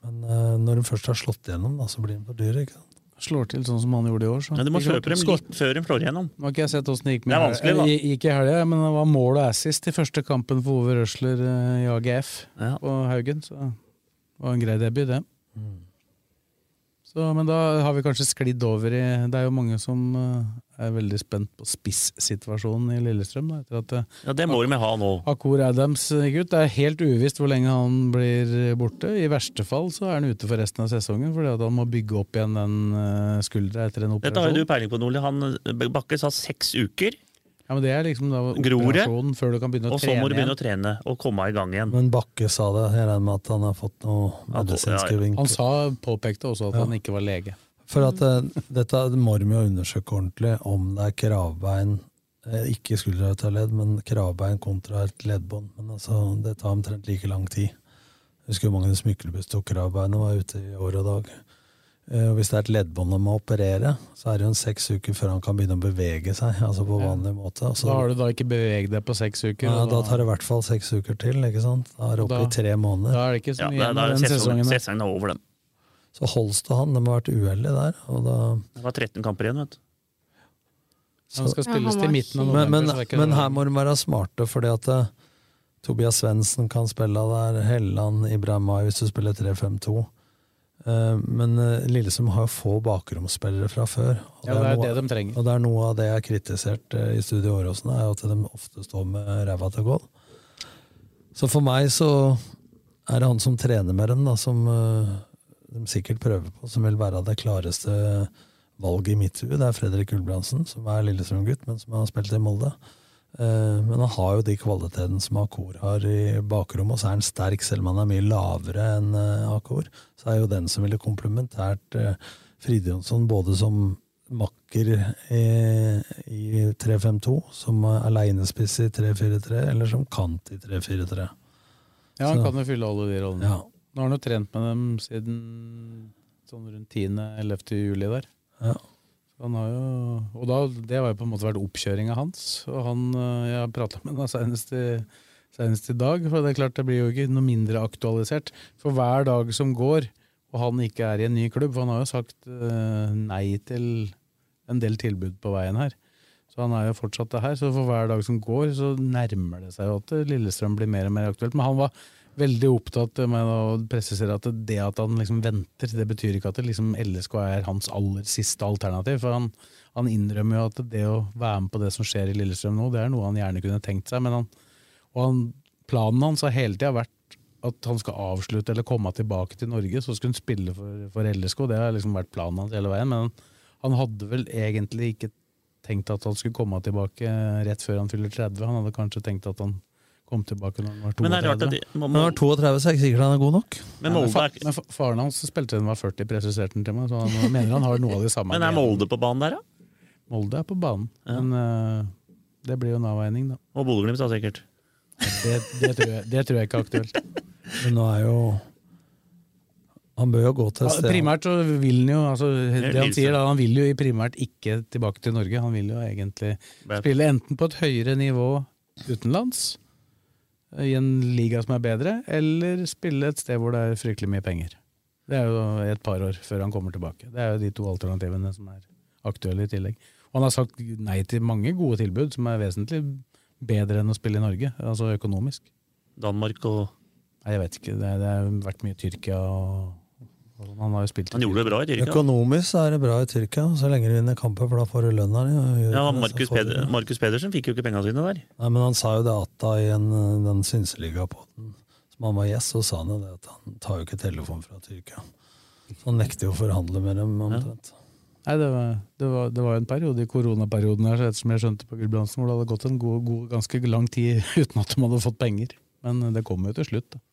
A: Men eh, når hun først har slått igjennom, da, så blir hun for dyr. ikke sant?
C: Slår til sånn som han gjorde i år. Så.
E: Ja, du må
C: Ikke sant?
E: kjøpe dem
C: Skål.
E: litt før de slår igjennom.
C: Nå har ikke jeg sett åssen det gikk med
E: Det er vanskelig, da.
C: Eller, Gikk i helga, men det var mål og assist i første kampen for Ove Røsler eh, i AGF på Haugen, så det var en grei debut, det.
E: Mm.
C: Så, men da har vi kanskje sklidd over i Det er jo mange som eh, er veldig spent på spissituasjonen i Lillestrøm. Da, etter at eh,
E: Ja, Det må de ha nå.
C: Akur Adams gikk ut. Det er helt uvisst hvor lenge han blir borte. I verste fall så er han ute for resten av sesongen, fordi at han må bygge opp igjen den eh, skuldra etter en
E: Dette har
C: operasjon.
E: jo du peiling på, Nordli. Han Bakke sa seks uker,
C: Ja, men Det er liksom da
E: Gror det?
C: operasjonen før du kan begynne å
E: og så
C: trene
E: må du begynne å
C: igjen.
E: trene og komme i gang igjen.
A: Men Bakke sa det. Jeg regner med at han har fått noen
E: Ja, ja,
A: medisinske
E: ja.
A: vinkler.
C: Han Mm. sa, påpekte også at
A: Ja.
C: han ikke var lege.
A: For at eh, dette må de jo undersøke ordentlig, om det er kravbein eh, Ikke skuldra ut av ledd, men kravbein kontra et leddbånd. Men altså, det tar omtrent like lang tid. Jeg husker hvor mange smykkelbuss tok kravbein og var ute i år og dag. Eh, og hvis det er et leddbånd de må operere, så er det jo en seks uker før han kan begynne å bevege seg. altså på vanlig måte. Og så-
C: da har du da ikke beveget deg på seks uker.
A: ja,
C: og
A: da tar det i hvert fall seks uker til. ikke sant? Da er det oppe i
C: Da-
A: tre måneder.
C: da er det ikke
E: Ja,
C: så mye
E: da,
C: igjen
E: da
C: av
E: er
C: den
E: sesongen,
C: sesongen. der.
E: sesongen er over, den.
A: Så Holst og han, de har vært uheldige der. og da...
E: Det var 13 kamper igjen, vet du.
C: Han skal spilles til midten av
A: Men,
C: november.
A: men,
C: så det er ikke
A: men
C: så-
A: her må de være smarte, fordi at eh, Tobias Svendsen kan spille der, Helland, Ibrahimai hvis du spiller 3-5-2. Eh, Men eh, Lillestrøm har jo få bakromsspillere fra før.
C: Ja, det er det de trenger.
A: Og det er noe av det jeg har kritisert eh, i Studio Åråsen, er jo at de ofte står med ræva til gål. Så for meg så er det han som trener med dem, da, som eh, de sikkert prøver på, som vil være det klareste valget i mitt hue. Det er Fredrik Ulbrandsen, som er Lillestrøm-gutt, men som har spilt i Molde. Eh, Men han har jo de kvalitetene som Akor har i bakrommet, og så er han sterk, selv om han er mye lavere enn eh, Akor. Så er jo den som ville komplementært eh, Fride Jonsson både som makker i, i 3-5-2, som er aleinespiss i 3-4-3, eller som kant i 3-4-3.
C: Ja, han
A: Så-
C: kan jo fylle alle de rollene.
A: Ja.
C: Nå har han jo trent med dem siden sånn rundt 10.-11. juli der.
A: Ja.
C: Så Han har jo, og da, det har jo på en måte vært oppkjøringa hans. Og han, øh, jeg har prata med han senest i, senest i dag, for det er klart det blir jo ikke noe mindre aktualisert. For hver dag som går, og han ikke er i en ny klubb, for han har jo sagt øh, nei til en del tilbud på veien her. Så han er jo fortsatt det her. Så for hver dag som går, så nærmer det seg jo at Lillestrøm blir mer og mer aktuelt. Men han var veldig opptatt med å presisere at det at han liksom venter, det betyr ikke at det liksom LSK er hans aller siste alternativ. For han, han innrømmer jo at det å være med på det som skjer i Lillestrøm nå, det er noe han gjerne kunne tenkt seg. Men han, og han, planen hans har hele tida vært at han skal avslutte eller komme tilbake til Norge, så skulle han spille for, for LSK. Det har liksom vært planen hans hele veien. Men han hadde vel egentlig ikke tenkt at han skulle komme tilbake rett før han fyller 30. Han hadde kanskje tenkt at han kom tilbake når han var 32.
E: Men det er rart at de, må,
A: Han
E: må,
A: har 32, så er det ikke sikkert han er god nok.
E: men
C: Nei,
E: Molde
C: fa-
E: er,
C: men fa- Faren hans spilte den var 40, presiserte han til meg, så han mener han har noe av det samme.
E: men er Molde på banen der, da?
C: Molde er på banen, men øh, det blir jo en avveining, da.
E: Og Bodø-Glimt, da, sikkert.
C: Det, det, tror jeg, det tror jeg ikke er aktuelt.
A: Men nå er jo Han bør jo gå til
C: Ja,
A: et sted.
C: primært så vil han jo altså, det han
A: Lillestrøm.
C: sier da, han vil jo i primært ikke tilbake til Norge. Han vil jo egentlig
E: Bad.
C: spille enten på et høyere nivå utenlands, i en liga som er bedre, eller spille et sted hvor det er fryktelig mye penger. Det er jo et par år før han kommer tilbake. Det er jo de to alternativene som er aktuelle i tillegg. Og han har sagt nei til mange gode tilbud som er vesentlig bedre enn å spille i Norge, altså økonomisk.
E: Danmark og
C: Nei, jeg vet ikke. Det, det har vært mye Tyrkia og, og sånn. Han har jo spilt i
E: Han gjorde det bra i Tyrkia.
A: Økonomisk så er det bra i Tyrkia, så lenge du vinner kamper, for da får du lønna di. og gjør
E: Ja,
A: det, så
E: Markus,
A: får du-
E: Peder, Markus Pedersen fikk jo ikke pengene sine der.
A: Nei, men han sa jo det at da i en, den synseliga-podden som han var gjest, så sa han jo det at han tar jo ikke telefon fra Tyrkia. Så han nekter jo å forhandle med dem omtrent.
C: Nei, det var, det, var, det var jo en periode i koronaperioden her, så ettersom jeg skjønte på Gulbrandsen, hvor det hadde gått en god, god, ganske lang tid uten at de hadde fått penger. Men eh, det kom jo til slutt. Da.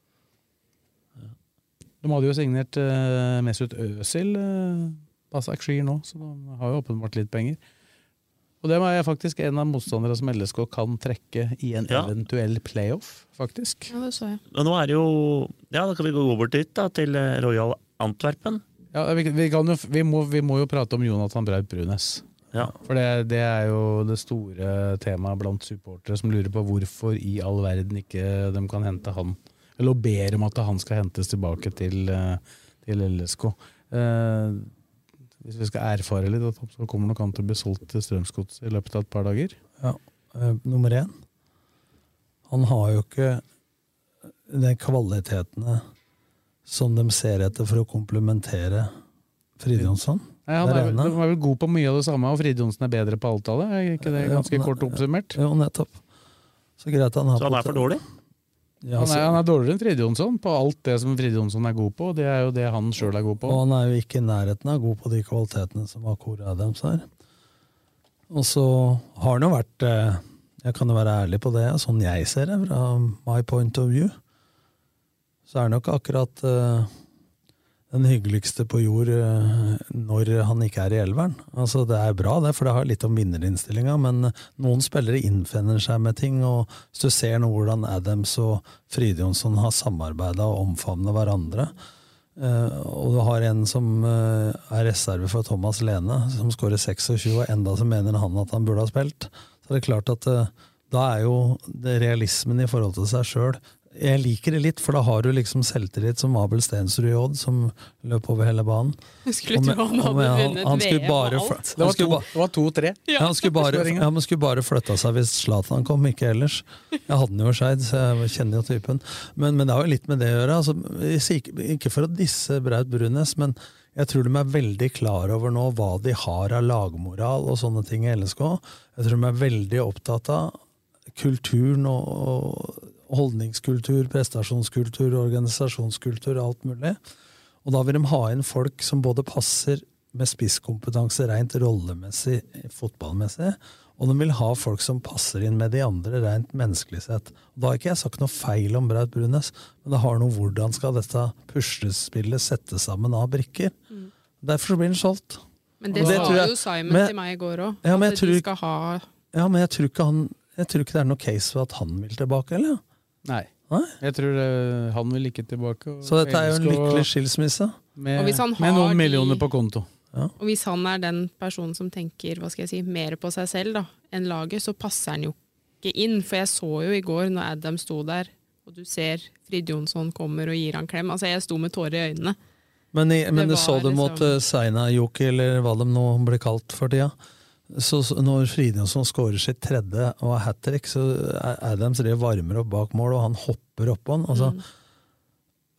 C: De hadde jo signert eh, Mesut Özil, uh, Basak Shir nå, så de har jo åpenbart litt penger. Og dem er jeg faktisk en av motstanderne som LSK kan trekke i en
E: Ja.
C: eventuell playoff, faktisk.
D: Ja, det så jeg.
E: Men nå er det jo Ja, da kan vi gå over dit, da, til eh, Royal Antwerpen.
C: Ja, vi, vi, kan jo, vi, må, vi må jo prate om Jonathan Braut Brunes.
E: Ja.
C: For det, det er jo det store temaet blant supportere som lurer på hvorfor i all verden ikke de kan hente han. Eller ber om at han skal hentes tilbake til, eh, til LSK. Eh, hvis vi skal erfare litt, at så kommer nok han til å bli solgt til Strømsgodset i løpet av et par dager.
A: Ja. Eh, Nummer én, han har jo ikke de kvalitetene som de ser etter for å komplementere Fridjonsson.
E: Mm.
C: Nei, han
A: Det
C: er,
A: er
C: vel-
A: ene.
C: de er vel god på mye av det samme, og Fride Johnsen er bedre på alt av det. Er ikke det ganske kort oppsummert?
A: Jo, nettopp. Så greit han har
E: Så han er for dårlig?
A: Ja,
C: han,
A: så-
C: er, han er dårligere enn Fride Jonsson på alt det som Fride Jonsson er god på, og det er jo det han sjøl er god på.
A: Og han er jo ikke i nærheten av god på de kvalitetene som Akore Adams er. Og så har han jo vært eh, Jeg kan jo være ærlig på det, sånn jeg ser det, fra my point of view. Så er han jo ikke akkurat eh, den hyggeligste på jord eh, når han ikke er i elveren. Altså Det er bra, det, for det har litt om vinnerinnstillinga, men noen spillere innfinner seg med ting. og Hvis du ser nå hvordan Adams og Fridjonsson har samarbeida og omfavna hverandre, Eh, og du har en som eh, er reserve for Thomas Lene, som skårer 26, og enda så mener han at han burde ha spilt. Så det er klart at eh, da er jo det realismen i forhold til seg sjøl Jeg liker det litt, for da har du liksom selvtillit som Abel Stensrud i Odd, som løp over hele banen.
D: Jeg skulle
A: Og med-
D: tro han
A: og
D: hadde
A: med-
D: vunnet
A: han skulle
D: VM
A: bare
D: og
A: fl-
D: alt.
A: han skulle ba-
C: to-tre.
A: ja, han skulle bare, ja, men skulle bare flytta seg hvis Zlatan kom, ikke ellers. Jeg hadde den jo i Skeid, så jeg kjenner jo typen. Men, men det har jo litt med det å gjøre. Altså, jeg sier ikke- ikke for å disse Braut Brunes, men jeg tror de er veldig klar over nå hva de har av lagmoral og sånne ting i LSK. Jeg tror de er veldig opptatt av kulturen og, og holdningskultur, prestasjonskultur, organisasjonskultur og alt mulig. Og da vil de ha inn folk som både passer med spisskompetanse rent rollemessig, fotballmessig, og de vil ha folk som passer inn med de andre rent menneskelig sett. Og da har ikke jeg sagt noe feil om Braut Brunes, men det har noe hvordan skal dette puslespillet settes sammen av brikker. Derfor så blir den solgt.
D: Men det,
A: Og
D: sa
A: tror jeg-
D: jo Simon
A: men-
D: til meg i går òg.
A: Ja, men
D: at
A: jeg
D: de
A: tror-
D: skal ha
A: Ja, men jeg tror ikke, han, jeg tror ikke det er noe case for at han vil tilbake, eller?
C: Nei.
A: Nei?
C: Jeg tror eh, han vil ikke tilbake. og
A: Så dette er jo en
C: LSK
A: lykkelig skilsmisse.
C: Med,
D: Og hvis han
C: med
D: har
C: noen
D: de-
C: millioner på konto.
D: Og hvis han er den personen som tenker hva skal jeg si, mer på seg selv da, enn laget, så passer han jo ikke inn. For jeg så jo i går, når Adam sto der, og du ser Frid Jonsson kommer og gir han klem. Altså, jeg sto med tårer i øynene.
A: Men, i, men
D: var
A: du så det mot
D: liksom-
A: liksom... Seinajoki, eller hva de nå blir kalt for tida. Så så når Fridjonsson skårer sitt tredje og har hat trick, så er Adams det varmer opp bak mål, og han hopper oppå han. Altså,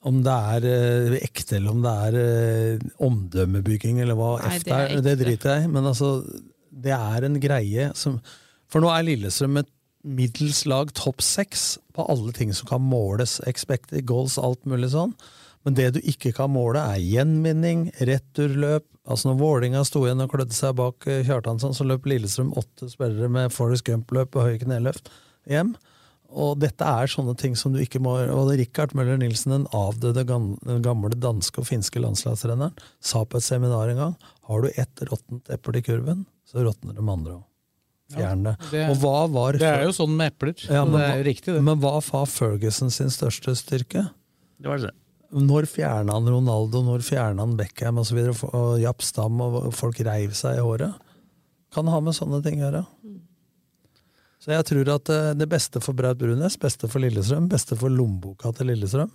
A: Om det er eh, ekte, eller om det er eh, omdømmebygging, eller hva
F: Nei,
A: F
F: det
A: det
F: er
A: er, det driter jeg i. Men altså, det er en greie som For nå er Lillestrøm et middels lag topp seks på alle ting som kan måles. Expected goals, alt mulig sånn. Men det du ikke kan måle, er gjenvinning, returløp. Altså når Vålinga sto igjen og klødde seg bak eh, Kjartansson, så løp Lillestrøm åtte spillere med Forest Gump-løp og høye kneløft hjem. Og dette er sånne ting som du ikke må Og Richard Møller Nilsen, den avdøde gam- gamle danske og finske landslagstreneren, sa på et seminar en gang har du ett råttent eple i kurven, så råtner de andre òg. Fjern det.
C: det-
A: og hva var
C: Det er jo sånn med epler.
A: Ja,
C: så
A: men
C: det er
A: hva-
C: jo riktig, det.
A: Men hva var Ferguson sin største styrke?
E: Det var det.
A: Når fjerna han Ronaldo, når fjerna han Beckham osv.? Og, så videre, og Japp Stam, og folk reiv seg i håret. Kan ha med sånne ting å gjøre. Så jeg tror at eh, det beste for Braut Brunes, beste for Lillestrøm, beste for lommeboka til Lillestrøm,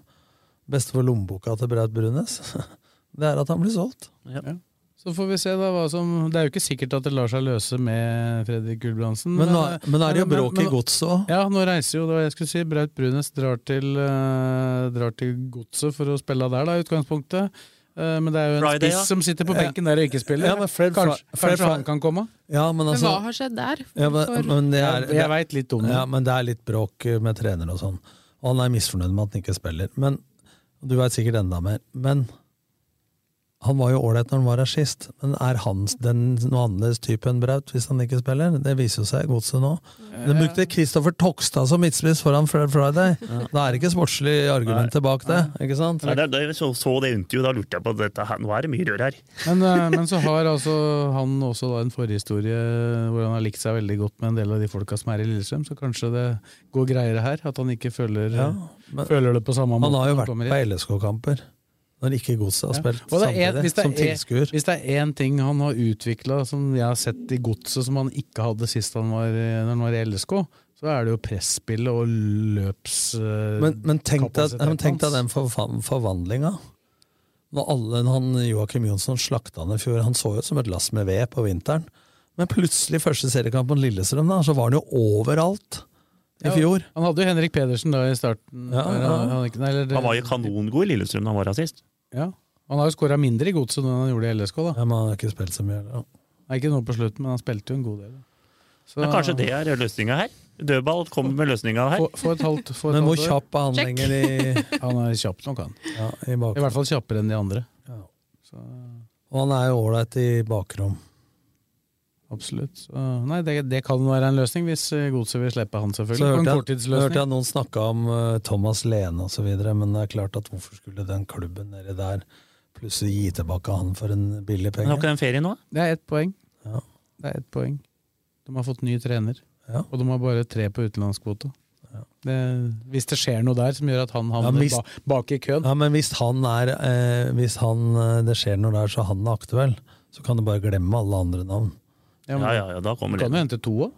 A: beste for lommeboka til Braut Brunes, det er at han blir solgt.
C: Ja. Så får vi se da hva som Det er jo ikke sikkert at det lar seg løse med Fredrik Gulbrandsen.
A: Men nå- men er det jo bråk i godset òg?
C: Ja, nå reiser jo det var det jeg skulle si. Braut Brunes drar til, eh, drar til godset for å spille der, da, i utgangspunktet. Eh, men det er jo en
A: Friday,
C: spiss
A: ja.
C: som sitter på
A: Ja.
C: benken der og ikke spiller.
A: Ja, men Fred Fri-
C: kanskje
A: Fred
C: kanskje
A: Fri-
C: han kan komme?
A: Ja, men
D: Men
A: altså...
D: hva har skjedd der?
A: Ja, men,
D: Hvorfor-
A: men det er,
C: Jeg- jeg vet litt om det.
A: Ja, men det er litt bråk med trener og sånn. Og han er misfornøyd med at han ikke spiller. Men Du veit sikkert enda mer. Men han var jo ålreit når han var her sist. Men er han den noe annerledes type enn Braut hvis han ikke spiller? Det viser jo seg i godset nå. De brukte Kristoffer Tokstad som midtspiss foran Fred Friday. Da er det ikke sportslig argument tilbak det. ikke sant?
E: Nei, da, da jeg så, så det intervjuet, da lurte jeg på dette her. Nå er det mye rør her.
C: Men, eh, men så har altså han også da en forhistorie hvor han har likt seg veldig godt med en del av de folka som er i Lillestrøm, så kanskje det går greiere her. At han ikke føler,
A: Ja, men-
C: føler det på samme måte.
A: Han har jo vært
C: kommer
A: på
C: hit.
A: LSK-kamper når ikke godset har
C: Ja.
A: spilt
C: Og det er en-
A: samtidig
C: hvis det
A: som
C: er-
A: tilskuer.
C: Hvis det er én ting han har utvikla som jeg har sett i godset som han ikke hadde sist han var, i- når han var i LSK, så er det jo presspillet og løps... eh,
A: Men, men tenk deg
C: kapasiteten
A: men tenk deg
C: hans.
A: den forva- forvandlinga. Når alle, han, Joakim Jonsson slakta han i fjor, han så jo som et lass med ved på vinteren. Men plutselig, første seriekamp mot Lillestrøm, da, så var han jo overalt i
C: Ja,
A: fjor.
C: Han hadde jo Henrik Pedersen da i starten.
A: Ja,
C: Eller,
A: ja.
C: han- han- nei, eller-
E: Han var jo kanongod i Lillestrøm da han var her sist.
C: Ja. Han har jo skåra mindre i godset enn han gjorde i LSK, da.
A: Ja, men han har ikke spilt så mye. Da.
C: Nei, ikke nå på slutten, men han spilte jo en god del. Så-
E: Men kanskje det er løsninga her? Dødball kommer med løsninga her.
C: Få- få et halvt- få et
A: Men hvor
C: halvt år.
A: kjapp er han
C: Check.
A: lenger i
C: Han er kjapp nok, han.
A: ja, i
C: I
A: bakrom?
C: hvert fall kjappere enn de andre.
A: Og han er jo ålreit i bakrom.
C: Absolutt. Så, nei, det, det kan være en løsning, hvis eh, Godset vil slippe han, selvfølgelig.
A: Så
C: På en
A: hørte jeg, så
C: korttidsløsning.
A: hørte jeg noen snakka om eh, Thomas Lene osv., men det er klart at hvorfor skulle den klubben nedi der plutselig gi tilbake han for en billig
E: Men
A: penge?
E: har ikke den ferie nå?
C: Det er ett poeng.
A: Ja.
C: Det er ett poeng. De har fått ny trener,
A: Ja.
C: og de har bare tre på utenlandskvote. Det, hvis det skjer noe der som gjør at han
A: Ja,
C: havner
A: men hvis-
C: ba, bak i køen
A: Ja, men hvis han er eh, Hvis han, eh, det skjer noe der, så han er aktuell, så kan du bare glemme alle andre navn.
C: Ja, men-
E: Ja, ja, ja, da kommer
C: Du kan jo
E: det.
C: hente to òg.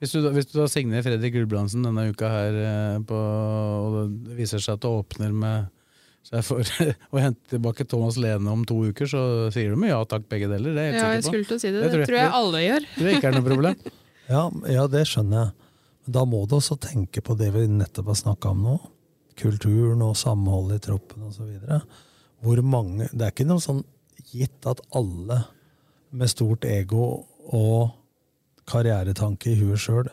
C: Hvis, du da- hvis du da signerer Fredrik Gulbrandsen denne uka her, eh, på, og det viser seg at det åpner med seg for å hente tilbake Thomas Lene om to uker, så sier du med ja takk, begge deler. Det
D: Ja,
C: er jeg
D: jeg
C: helt
D: skulle
C: sikker på.
D: til å si det.
C: Det tror
D: Det
C: jeg-
D: tror jeg alle gjør.
C: Det ikke er noe problem.
A: Ja, ja, det skjønner jeg. Men da må du også tenke på det vi nettopp har snakka om nå. Kulturen og samholdet i troppen osv. Hvor mange Det er ikke noe sånn gitt at alle med stort ego og karrieretanke i huet sjøl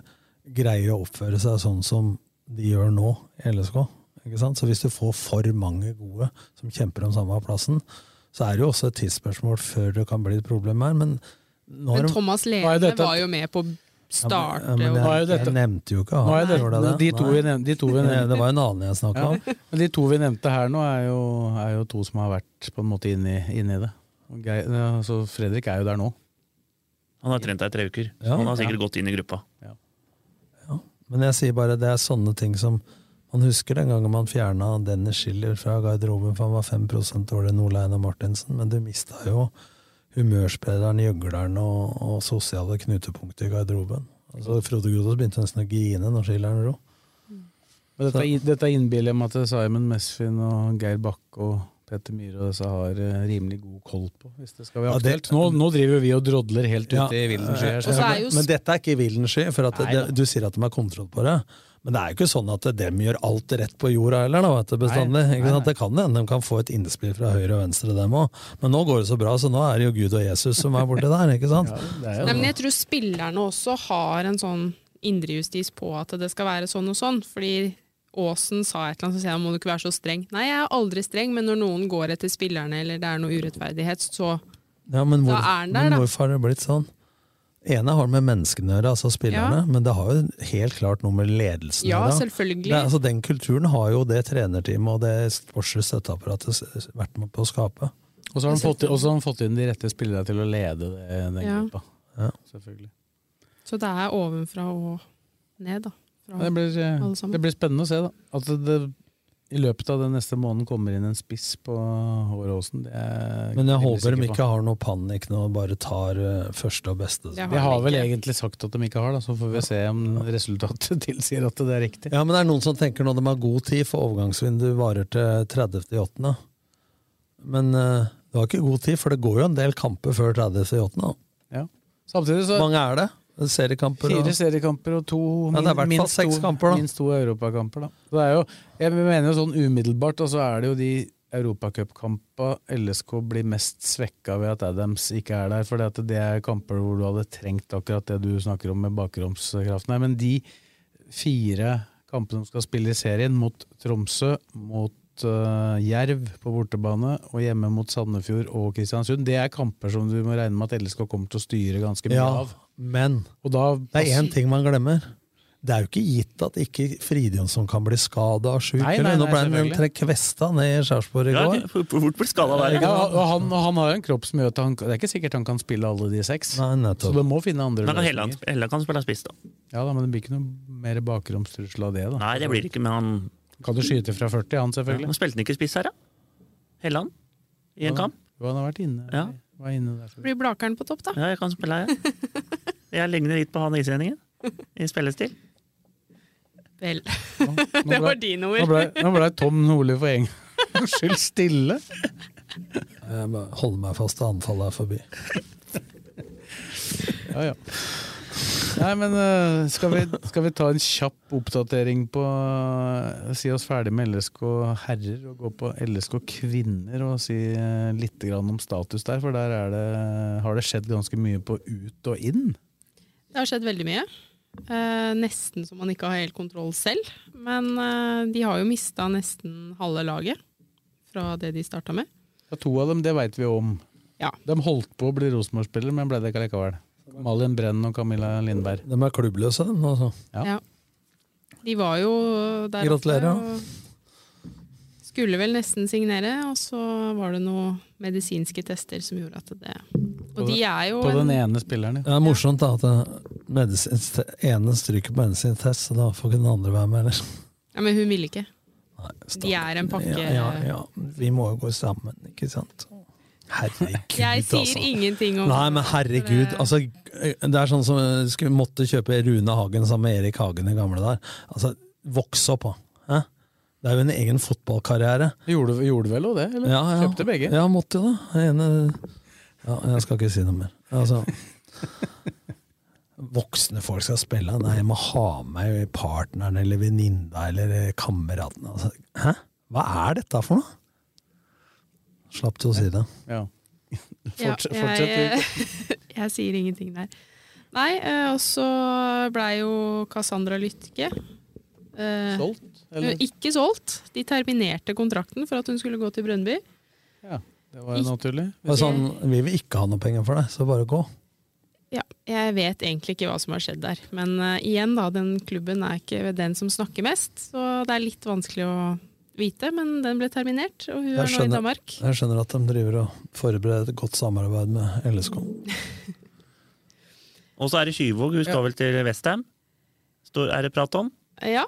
A: greier å oppføre seg sånn som de gjør nå i LSK. Ikke sant? Så hvis du får for mange gode som kjemper om samme plassen, så er det jo også et tidsspørsmål før det kan bli et problem her. Men, nå har
D: Men
A: de-
D: Thomas
C: Hva er
D: Lene
C: dette-
D: var jo med på å starte
A: ja, men
D: og-
C: Nå er
A: jeg,
C: jo dette-
A: jeg nevnte jo ikke
C: Nå er
A: han.
C: det,
A: Gjorde jeg
C: de, to vi
A: Nei.
C: nevnte, de to vi
A: Nei,
C: nevnte.
A: Det var jo en annen jeg snakka om.
C: Ja. Men de to vi nevnte her nå, er jo, er jo to som har vært på en måte inni, inni det. Og Geir, ja, så Fredrik er jo der nå.
E: Han har trent deg i tre uker, så
A: Ja.
E: han har sikkert gått inn i gruppa.
A: Men jeg sier bare det er sånne ting som Man husker den gangen man fjerna Dennis Schiller fra garderoben, for han var 5 dårligere enn Ole Einar Martinsen, men du mista jo humørsprederen, gjøgleren og, og sosiale knutepunkter i garderoben. Altså, Frode Grodås begynte nesten å grine når Schilleren dro.
C: Men dette, er- dette er innbiller jeg meg at Simon Mesfin og Geir Bakke og Petter Myhre og disse har eh, rimelig god koll på, hvis det skal være
A: Ja, det-
C: aktuelt. Nå, nå driver vi og drodler helt ute
A: Ja.
C: i vilden sky. her,
D: Og så
C: så-
D: er jo-
A: Men dette er ikke villen sky, for at
C: Nei
A: det, du sier at de har kontroll på det. Men det er jo ikke sånn at dem gjør alt rett på jorda heller, da, vet du, bestandig.
C: Nei,
A: Ikke
C: nei,
A: sant? Det kan hende de kan få et innspill fra høyre og venstre, dem òg. Men nå går det så bra, så nå er det jo Gud og Jesus som er borti der, ikke sant?
C: Det er jo-
D: Nei, men jeg tror spillerne også har en sånn indrejustis på at det skal være sånn og sånn. Fordi Aasen sa et eller annet, så sier han må du ikke være så streng. Nei, jeg er aldri streng, men når noen går etter spillerne eller det er noe urettferdighet, så
A: Ja, men, hvor,
D: Da er den der,
A: men
D: da.
A: hvorfor har det blitt sånn? ene har med menneskene å gjøre, altså spillerne,
D: Ja.
A: men det har jo helt klart noe med ledelsen å
D: ja,
A: gjøre.
D: selvfølgelig.
A: Det, er- altså, den kulturen har jo det trenerteamet og det sportslige støtteapparatet s- vært med på å skape.
C: Og så har han fått, og så har han fått inn de rette spillerne til å lede det, den
D: Ja.
C: gruppa.
A: Ja.
C: Selvfølgelig.
D: Så det er ovenfra og ned, da. Fra
C: Det blir, eh,
D: alle sammen.
C: det blir spennende å se, da. At det, I løpet av den neste måneden kommer inn en spiss på Håråsen. Det er
A: Men jeg
C: rimelig
A: håper de
C: sikker på.
A: ikke har noe panikk nå og bare tar eh, første og beste.
C: De har vel egentlig sagt at de ikke har, da, så får vi se om resultatet tilsier at det er riktig.
A: Ja, men det er noen som tenker nå de har god tid, for overgangsvinduet varer til 30.8. Men eh, du har ikke god tid, for det går jo en del kamper før 30.8.
C: Ja. Samtidig så
A: mange er det? Seriekamper og
C: Fire seriekamper og to
A: Ja, det er i hvert fall
C: minst
A: seks
C: to-
A: kamper, da.
C: Minst to europakamper, da. Så det er jo, jeg mener jo sånn umiddelbart, og så er det jo de europacupkampene LSK blir mest svekka ved at Adams ikke er der. For det er kamper hvor du hadde trengt akkurat det du snakker om med bakromskraften her. Men de fire kampene som skal spille i serien, mot Tromsø, mot eh, Jerv på bortebane og hjemme mot Sandefjord og Kristiansund. Det er kamper som du må regne med at LSK kommer til å styre ganske mye
A: Ja,
C: av.
A: men
C: Og da
A: det er én ting man glemmer. Det er jo ikke gitt at ikke Fridjonsson kan bli skada og sjuk.
C: Nei,
A: eller?
C: nei,
A: Nå
C: nei,
A: ble han
C: selvfølgelig.
A: tre- kvesta ned i Skjærsborg i
E: Ja,
A: går.
E: det- Fort blir skada der.
C: Ja, og han, og han har jo en kropp som gjør at han, det er ikke sikkert han kan spille alle de seks. så du må finne andre
E: Men kan Helland, Helland kan spille spiss, da.
C: Ja, da, Men det blir ikke noe mer bakromstrussel av det. da.
E: Nei, det blir det ikke, men han
C: Kan du skyte fra 40, han selvfølgelig.
E: Nå spilte han ikke spiss her, da. Helland. I en
C: Ja.
E: kamp.
C: Jo, han har vært inne.
E: Ja.
C: Var inne der.
D: Blir Blakeren på topp, da?
E: Ja, jeg kan spille her, jeg. Jeg ligner litt på han islendingen. I spillestil.
D: Vel.
C: Nå
D: det
C: ble-
D: var dine
C: Nå ble,
D: ord.
C: nå ble Tom Nordli for en gangs skyld stille.
A: Jeg må holde meg fast til anfallet er forbi.
C: Ja, ja. Nei, men eh, skal vi, skal vi ta en kjapp oppdatering på eh, Si oss ferdig med LSK herrer og gå på LSK kvinner og si eh, litt grann om status der, for der er det, har det skjedd ganske mye på ut og inn.
D: Det har skjedd veldig mye. Eh, nesten så man ikke har helt kontroll selv. Men eh, de har jo mista nesten halve laget fra det de starta med.
C: Ja, to av dem, det veit vi om. De holdt på å bli Rosenborg-spillere, men ble det ikke likevel. Malin Brenn og Camilla Lindberg.
A: De er klubbløse, de. Altså.
D: Ja. De var jo der
A: Gratulerer, ja.
D: og skulle vel nesten signere, og så var det noen medisinske tester som gjorde at det Og de er jo
C: På den
D: en,
C: ene spilleren, ja.
A: Det er morsomt da, at det- medisins- ene stryker på medisinsk test, så da får ikke den andre være med. Eller?
D: ja, Men hun ville ikke. De er eh, en pakke
A: Ja, ja, ja. Vi må jo gå sammen, ikke sant? Herregud, altså.
D: Jeg sier ingenting om Eh.
A: Nei, men herregud. Altså, det er sånn som eh, skulle måtte kjøpe Rune Hagen sammen med Erik Hagen, den gamle der. Altså, voks opp, da. Hæ? Det er jo en egen fotballkarriere.
C: Gjorde, gjorde vel òg det? Eller?
A: Ja, ja.
C: Kjøpte begge?
A: Ja, måtte jo det. Den Ene... Ja, jeg skal ikke si noe mer. Altså, voksne folk skal spille. Nei, jeg må ha med partneren eller venninna eller eh, kameraten. Altså, hæ? Hva er dette for noe? Slapp til å si det.
C: Ja.
D: Ja,
C: Fortsett, fortsett.
D: Jeg, jeg sier ingenting der. Nei, eh, og så blei jo Cassandra Lytke eh,
C: Solgt, eller?
D: eh, Ikke solgt. De terminerte kontrakten for at hun skulle gå til Brønnby.
C: Ja, det var jo naturlig.
A: Det var sånn, vi vil ikke ha noe penger for deg, så bare gå.
D: Ja, jeg vet egentlig ikke hva som har skjedd der. Men eh, igjen, da, den klubben er ikke den som snakker mest, så det er litt vanskelig å vite. Men den ble terminert, og hun
A: Jeg
D: er nå i
A: skjønner,
D: Danmark.
A: jeg skjønner at de driver og forbereder et godt samarbeid med LSK.
E: Og så er det Skyvåg, hun skal vel til Westham. Er det prat om?
D: Ja,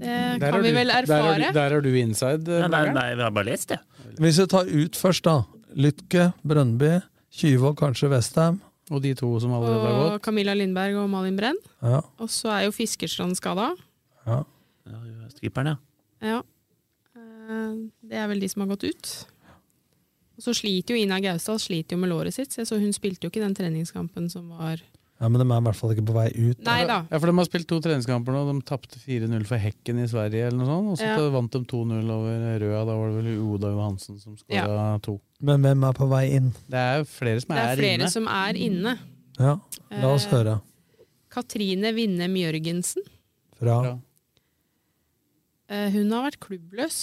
D: det
C: Der
D: kan
C: er
D: vi
C: du-
D: vel
C: Der
D: erfare.
C: er du, der er du inside. eh,
E: Nei, nei,
C: Blakeren.
E: nei, vi har bare lest, jeg.
A: Hvis vi tar ut først, da. Lytke, Brøndby, Kyvåg, kanskje Vestheim.
C: Og de to som allerede har
D: Og
C: gått.
D: Camilla Lindberg og Malin Brenn.
A: Ja.
D: Og så er jo Fiskerstrand skada.
A: Ja.
E: Skipperen, ja.
D: Ja. Eh, Det er vel de som har gått ut. Og så sliter jo Ina Gausdal sliter jo med låret sitt, så jeg så hun spilte jo ikke den treningskampen som var
A: ja, Men de er i hvert fall ikke på vei ut.
D: Nei da.
C: Ja, for De har spilt to treningskamper nå. De tapte 4-0 for Hekken i Sverige, eller noe sånt. Og så
D: Ja.
C: vant de 2-0 over Røa. Da var det vel Oda Johansen som skåra to.
A: Men hvem er på vei inn?
C: Det er flere som
D: Det
C: er,
D: er flere
C: inne.
D: som er inne.
A: Ja, la oss
D: Eh,
A: høre.
D: Katrine Winnem Jørgensen.
A: Fra
D: Eh, Hun har vært klubbløs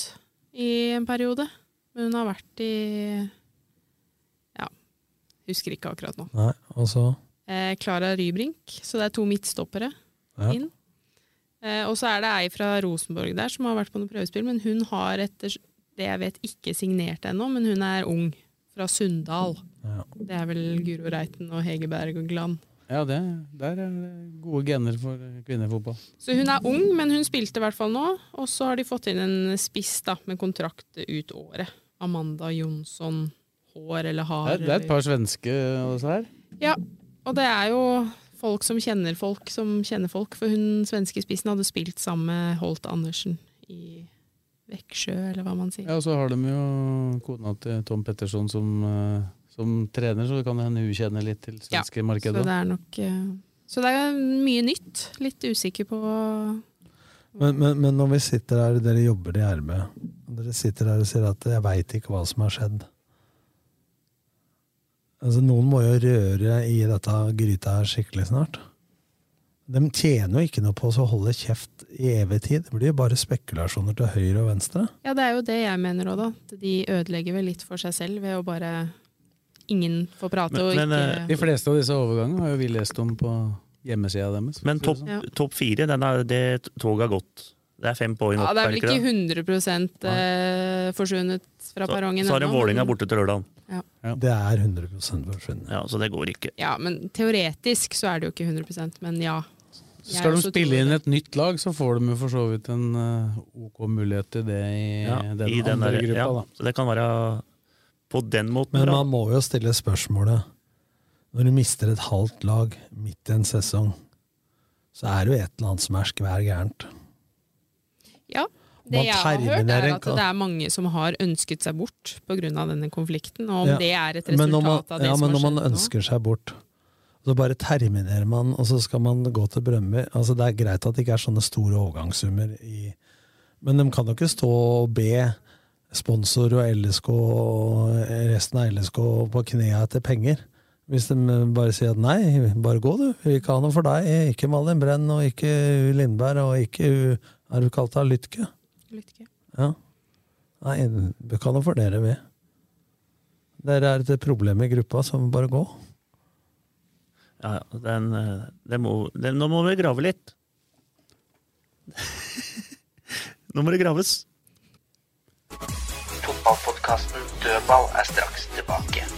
D: i en periode. Men hun har vært i Ja, husker ikke akkurat nå.
A: Nei, og så
D: Klara Eh, Rybrink, så det er to midtstoppere
A: Ja.
D: inn. Eh, og så er det ei fra Rosenborg der som har vært på noe prøvespill, men hun har etter det jeg vet ikke signert ennå, men hun er ung. Fra Sunndal.
A: Ja.
D: Det er vel Guro Reiten og Hege Berg og Gland.
C: Ja, det, der er det gode gener for eh, kvinnefotball.
D: Så hun er ung, men hun spilte i hvert fall nå. Og så har de fått inn en spiss da, med kontrakt ut året. Amanda Jonsson. Hår eller
C: Det
D: har.
C: er, det er et par svenske og disse her.
D: eller- Ja, og det er jo folk som kjenner folk som kjenner folk. For hun svenske spissen hadde spilt sammen med Holt Andersen i Veksjø, eller hva man sier.
C: Ja, og så har de jo kona til Tom Petterson som, eh, som trener, så det kan hende hun kjenner litt til
D: Ja,
C: svenske
D: Så
C: markedet.
D: det er nok eh, Så det er mye nytt. Litt usikker på
A: Men, men, men når vi sitter her, dere jobber i RB, og dere sitter her og sier at 'jeg veit ikke hva som har skjedd' Altså, Noen må jo røre i dette gryta her skikkelig snart. De tjener jo ikke noe på å holde kjeft i evig tid. Det blir jo bare spekulasjoner til høyre og venstre.
D: Ja, det er jo det jeg mener òg, da. At De ødelegger vel litt for seg selv ved å bare Ingen får prate og
E: eh,
D: ikke
C: De fleste av disse overgangene har jo vi lest om på hjemmesida deres.
E: Men topp
D: Ja.
E: altså, topp fire, den er, det toget har gått. Det er fem poeng
D: Ja,
E: opp.
D: det er vel
E: det?
D: ikke 100 eh, forsvunnet fra perrongen
E: Så har de
D: ennå,
E: Vålinga
D: men-
E: borte til lørdagen.
D: Ja.
A: Det er 100 forsvunnet.
E: Ja, så det går ikke.
D: Ja, men teoretisk så er det jo ikke 100 men ja.
C: Så skal de
D: Jeg også tror-
C: spille inn et nytt lag, så får de jo for så vidt en eh, OK mulighet til det i
E: Ja,
C: den
E: i den
C: andre
E: der-
C: gruppa.
E: ja,
C: da.
E: Så det kan være på den måten.
A: Men
E: da.
A: man må jo stille spørsmålet Når du mister et halvt lag midt i en sesong, så er det jo et eller annet som er skvær gærent.
D: ja.
A: Man
D: Det jeg har hørt,
A: terminerer
D: er
A: en
D: at
A: ka-
D: det er mange som har ønsket seg bort pga. denne konflikten. Og om
A: Ja.
D: det er et
A: Men når man,
D: resultat av det
A: ja,
D: som
A: men
D: har
A: når man
D: skjedd nå
A: ønsker seg bort, så bare terminerer man, og så skal man gå til Brønnby. Altså, det er greit at det ikke er sånne store overgangssummer, i, men de kan jo ikke stå og be sponsor og LSK og resten av LSK på knea etter penger. Hvis de bare sier at nei, bare gå du, vi vil ikke ha noe for deg. Ikke Malin Brenn og ikke U Lindberg og ikke U Er du kalt av Lytke?
D: Lytke.
A: Ja. Nei, vi kan jo for dere, vi. Dere er et problem i gruppa, så vi bare gå.
E: Ja, ja, den, eh, den må, den, nå må vi grave litt. nå må det graves.
B: Fotballpodkasten Dødball er straks tilbake.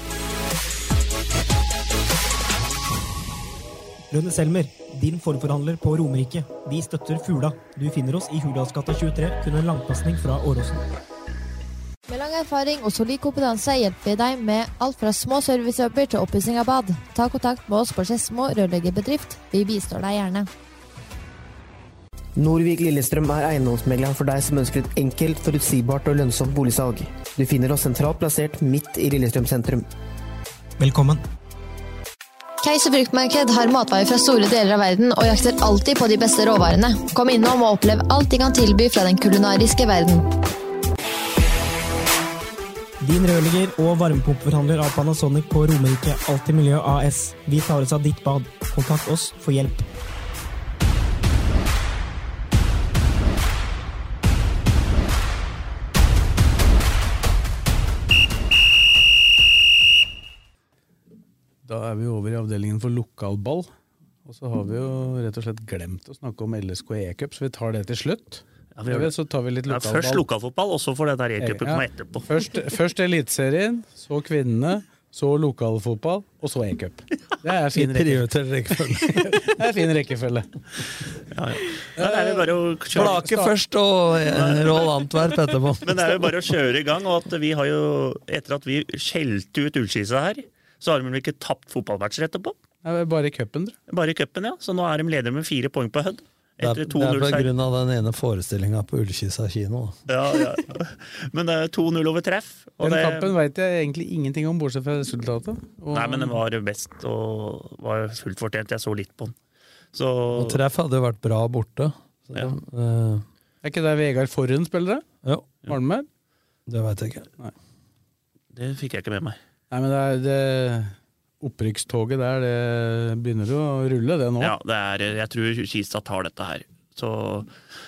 F: Rønne Selmer, din forforhandler på Romerike. Vi støtter Fula. Du finner oss i Hurdalsgata 23, kun en langpasning fra Åråsen.
G: Med lang erfaring og solid kompetanse hjelper vi deg med alt fra små servicejobber til oppussing av bad. Ta kontakt med oss på Skedsmo rørleggerbedrift. Vi bistår deg gjerne.
H: Norvik Lillestrøm er eiendomsmegleren for deg som ønsker et enkelt, forutsigbart og lønnsomt boligsalg. Du finner oss sentralt plassert midt i Lillestrøm sentrum.
F: Velkommen.
G: Keiser fruktmarked har matvarer fra store deler av verden og jakter alltid på de beste råvarene. Kom innom og opplev alt de kan tilby fra den kulinariske verden.
F: Din rørlegger og varmepumpeforhandler av Panasonic på Romerike Alltid Miljø AS. Vi tar oss av ditt bad. Kontakt oss for hjelp.
C: Da er vi over i avdelingen for lokalball. Og så har vi jo rett og slett glemt å snakke om LSK E-cup, så vi tar det til slutt.
E: Ja, vi gjør det.
C: så tar vi litt
E: Ja,
C: lokalball.
E: først lokalfotball, og så får det der E-cupen
C: Ja.
E: komme etterpå.
C: Først, først Eliteserien, så kvinnene, så lokalfotball, og så E-cup. Det er fin
A: Prioritert rekkefølge.
C: det er fin rekkefølge.
E: Ja, det er jo bare å kjøre.
A: Blake først og eh, Roll Antwerp etterpå.
E: Men det er jo bare å kjøre i gang. Og at vi har jo, etter at vi skjelte ut Ullskisa her, så har de vel ikke tapt fotballmatcher etterpå?
C: Nei, Bare i cupen, tror jeg.
E: Bare i cupen, ja. Så nå er de ledere med fire poeng på Hødd.
A: Det er,
E: Etter
A: det er på
E: 2-0-seier.
A: grunn av den ene forestillinga på Ullkisa kino. da.
E: Ja, ja. Men det er 2-0 over treff.
C: Den
E: det-
C: kampen veit jeg egentlig ingenting om, bortsett fra resultatet. Og-
E: Nei, men den var best og var fullt fortjent. Jeg så litt på den. Så
A: Og treff hadde jo vært bra borte. Så
E: Ja.
A: de, eh,
C: Er ikke det Vegard Forhen spiller, det?
A: Jo.
C: Malmö?
A: det veit jeg ikke.
E: det fikk jeg ikke med meg.
C: Nei, men det er det opprykkstoget der, det begynner jo å rulle, det nå.
E: Ja, det er, jeg tror Kisa tar dette her. Så,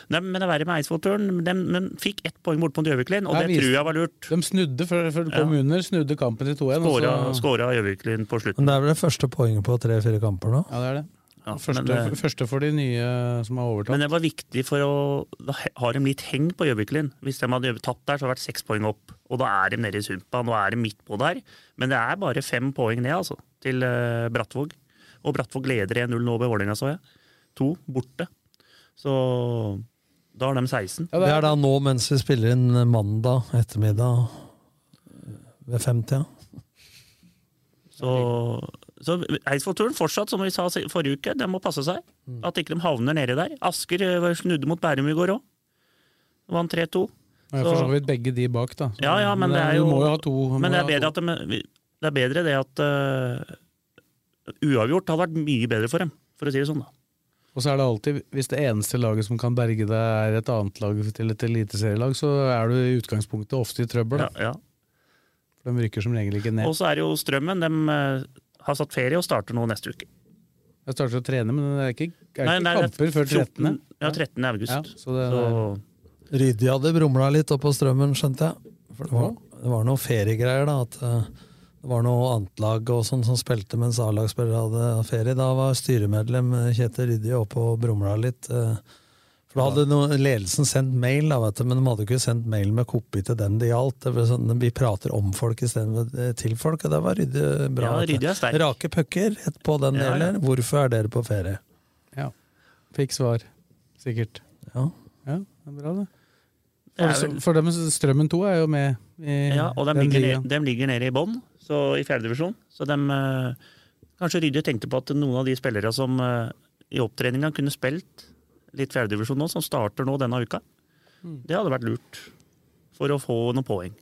E: nei, men det er verre med Eidsvoll-turen. De, men fikk ett poeng borte på Gjøviklin, og
C: Der
E: det
C: viste-
E: tror jeg var lurt.
C: De snudde før, før de kom under, snudde kampen til 2-1. og
E: Skåra,
C: så-
E: skåra Gjøviklin på slutten.
A: Men det er vel det første poenget på tre-fire kamper nå?
C: Ja, det er det.
E: Ja,
C: første,
E: men eh, det-
C: første for de nye som har overtatt.
E: Men det var viktig for å Da har de litt heng på Gjøviklin. Hvis de hadde tapt der, så hadde det vært seks poeng opp. Og da er de nede i sumpa. Nå er de midt på der. Men det er bare fem poeng ned, altså, til eh, Brattvåg. Og Brattvåg leder 1-0 nå ved Vålerenga, så jeg. To borte. Så da har de 16.
A: Det er da nå mens vi spiller inn mandag ettermiddag eh, ved femtida.
E: Så, så Eidsvoll-turen fortsatt, som vi sa si- forrige uke, de må passe seg. At ikke de havner nedi der. Asker eh, snudde mot Bærum i går òg. Vant 3-2.
C: Og jeg
E: Så-
C: for så vidt begge de bak, da. Så-
E: Ja, ja, men det er jo
C: Du må jo ha to. du må
E: Men det
C: ha
E: er bedre, at de, det, er bedre det at eh, Uavgjort hadde vært mye bedre for dem, for å si det sånn. da.
C: Og så er det alltid, hvis det eneste laget som kan berge deg er et annet lag til et eliteserielag, så er du i utgangspunktet ofte i trøbbel. da. For de rykker som regel ikke ned.
E: Og så er det jo Strømmen. De eh, har satt ferie og starter nå neste uke.
C: Jeg starter å trene, men det er ikke, er
E: Nei,
C: ikke
E: nei, det er
C: kamper før 13.
E: 14. Ja, 13. august.
C: så det,
E: Så-
A: Ryddig hadde brumla litt oppå strømmen, skjønte jeg. For det var, det var noe feriegreier, da. At eh, det var noe annet lag og sånn som spilte mens A-lagsspillere hadde ferie. Da var styremedlem eh, Kjetil Ryddi oppe og brumla litt. eh. For da hadde noen, ledelsen sendt mail, da, vet du, men de hadde ikke sendt mail med kopi til den det gjaldt. Det ble sånn, vi prater om folk istedenfor til folk, og det var ryddig bra.
E: Ja,
A: vet du.
E: ryddig er sterk.
A: Rake pucker rett på den
E: Ja, ja.
A: delen. Hvorfor er dere på ferie?
C: Ja. Fikk svar, sikkert.
A: Ja.
C: Ja, det er bra, det.
E: Det er
C: For,
E: vel-
C: for dem, Strømmen 2 er jo med i
E: Ja, og de
C: den
E: ligger,
C: ligaen.
E: ned, dem ligger nede i bånn, så i fjerdedivisjon. Så de eh, Kanskje Rydde tenkte på at noen av de spillere som eh, i opptreninga kunne spilt litt fjerdedivisjon nå, som starter nå denne uka,
C: Mm.
E: det hadde vært lurt. For å få noen poeng.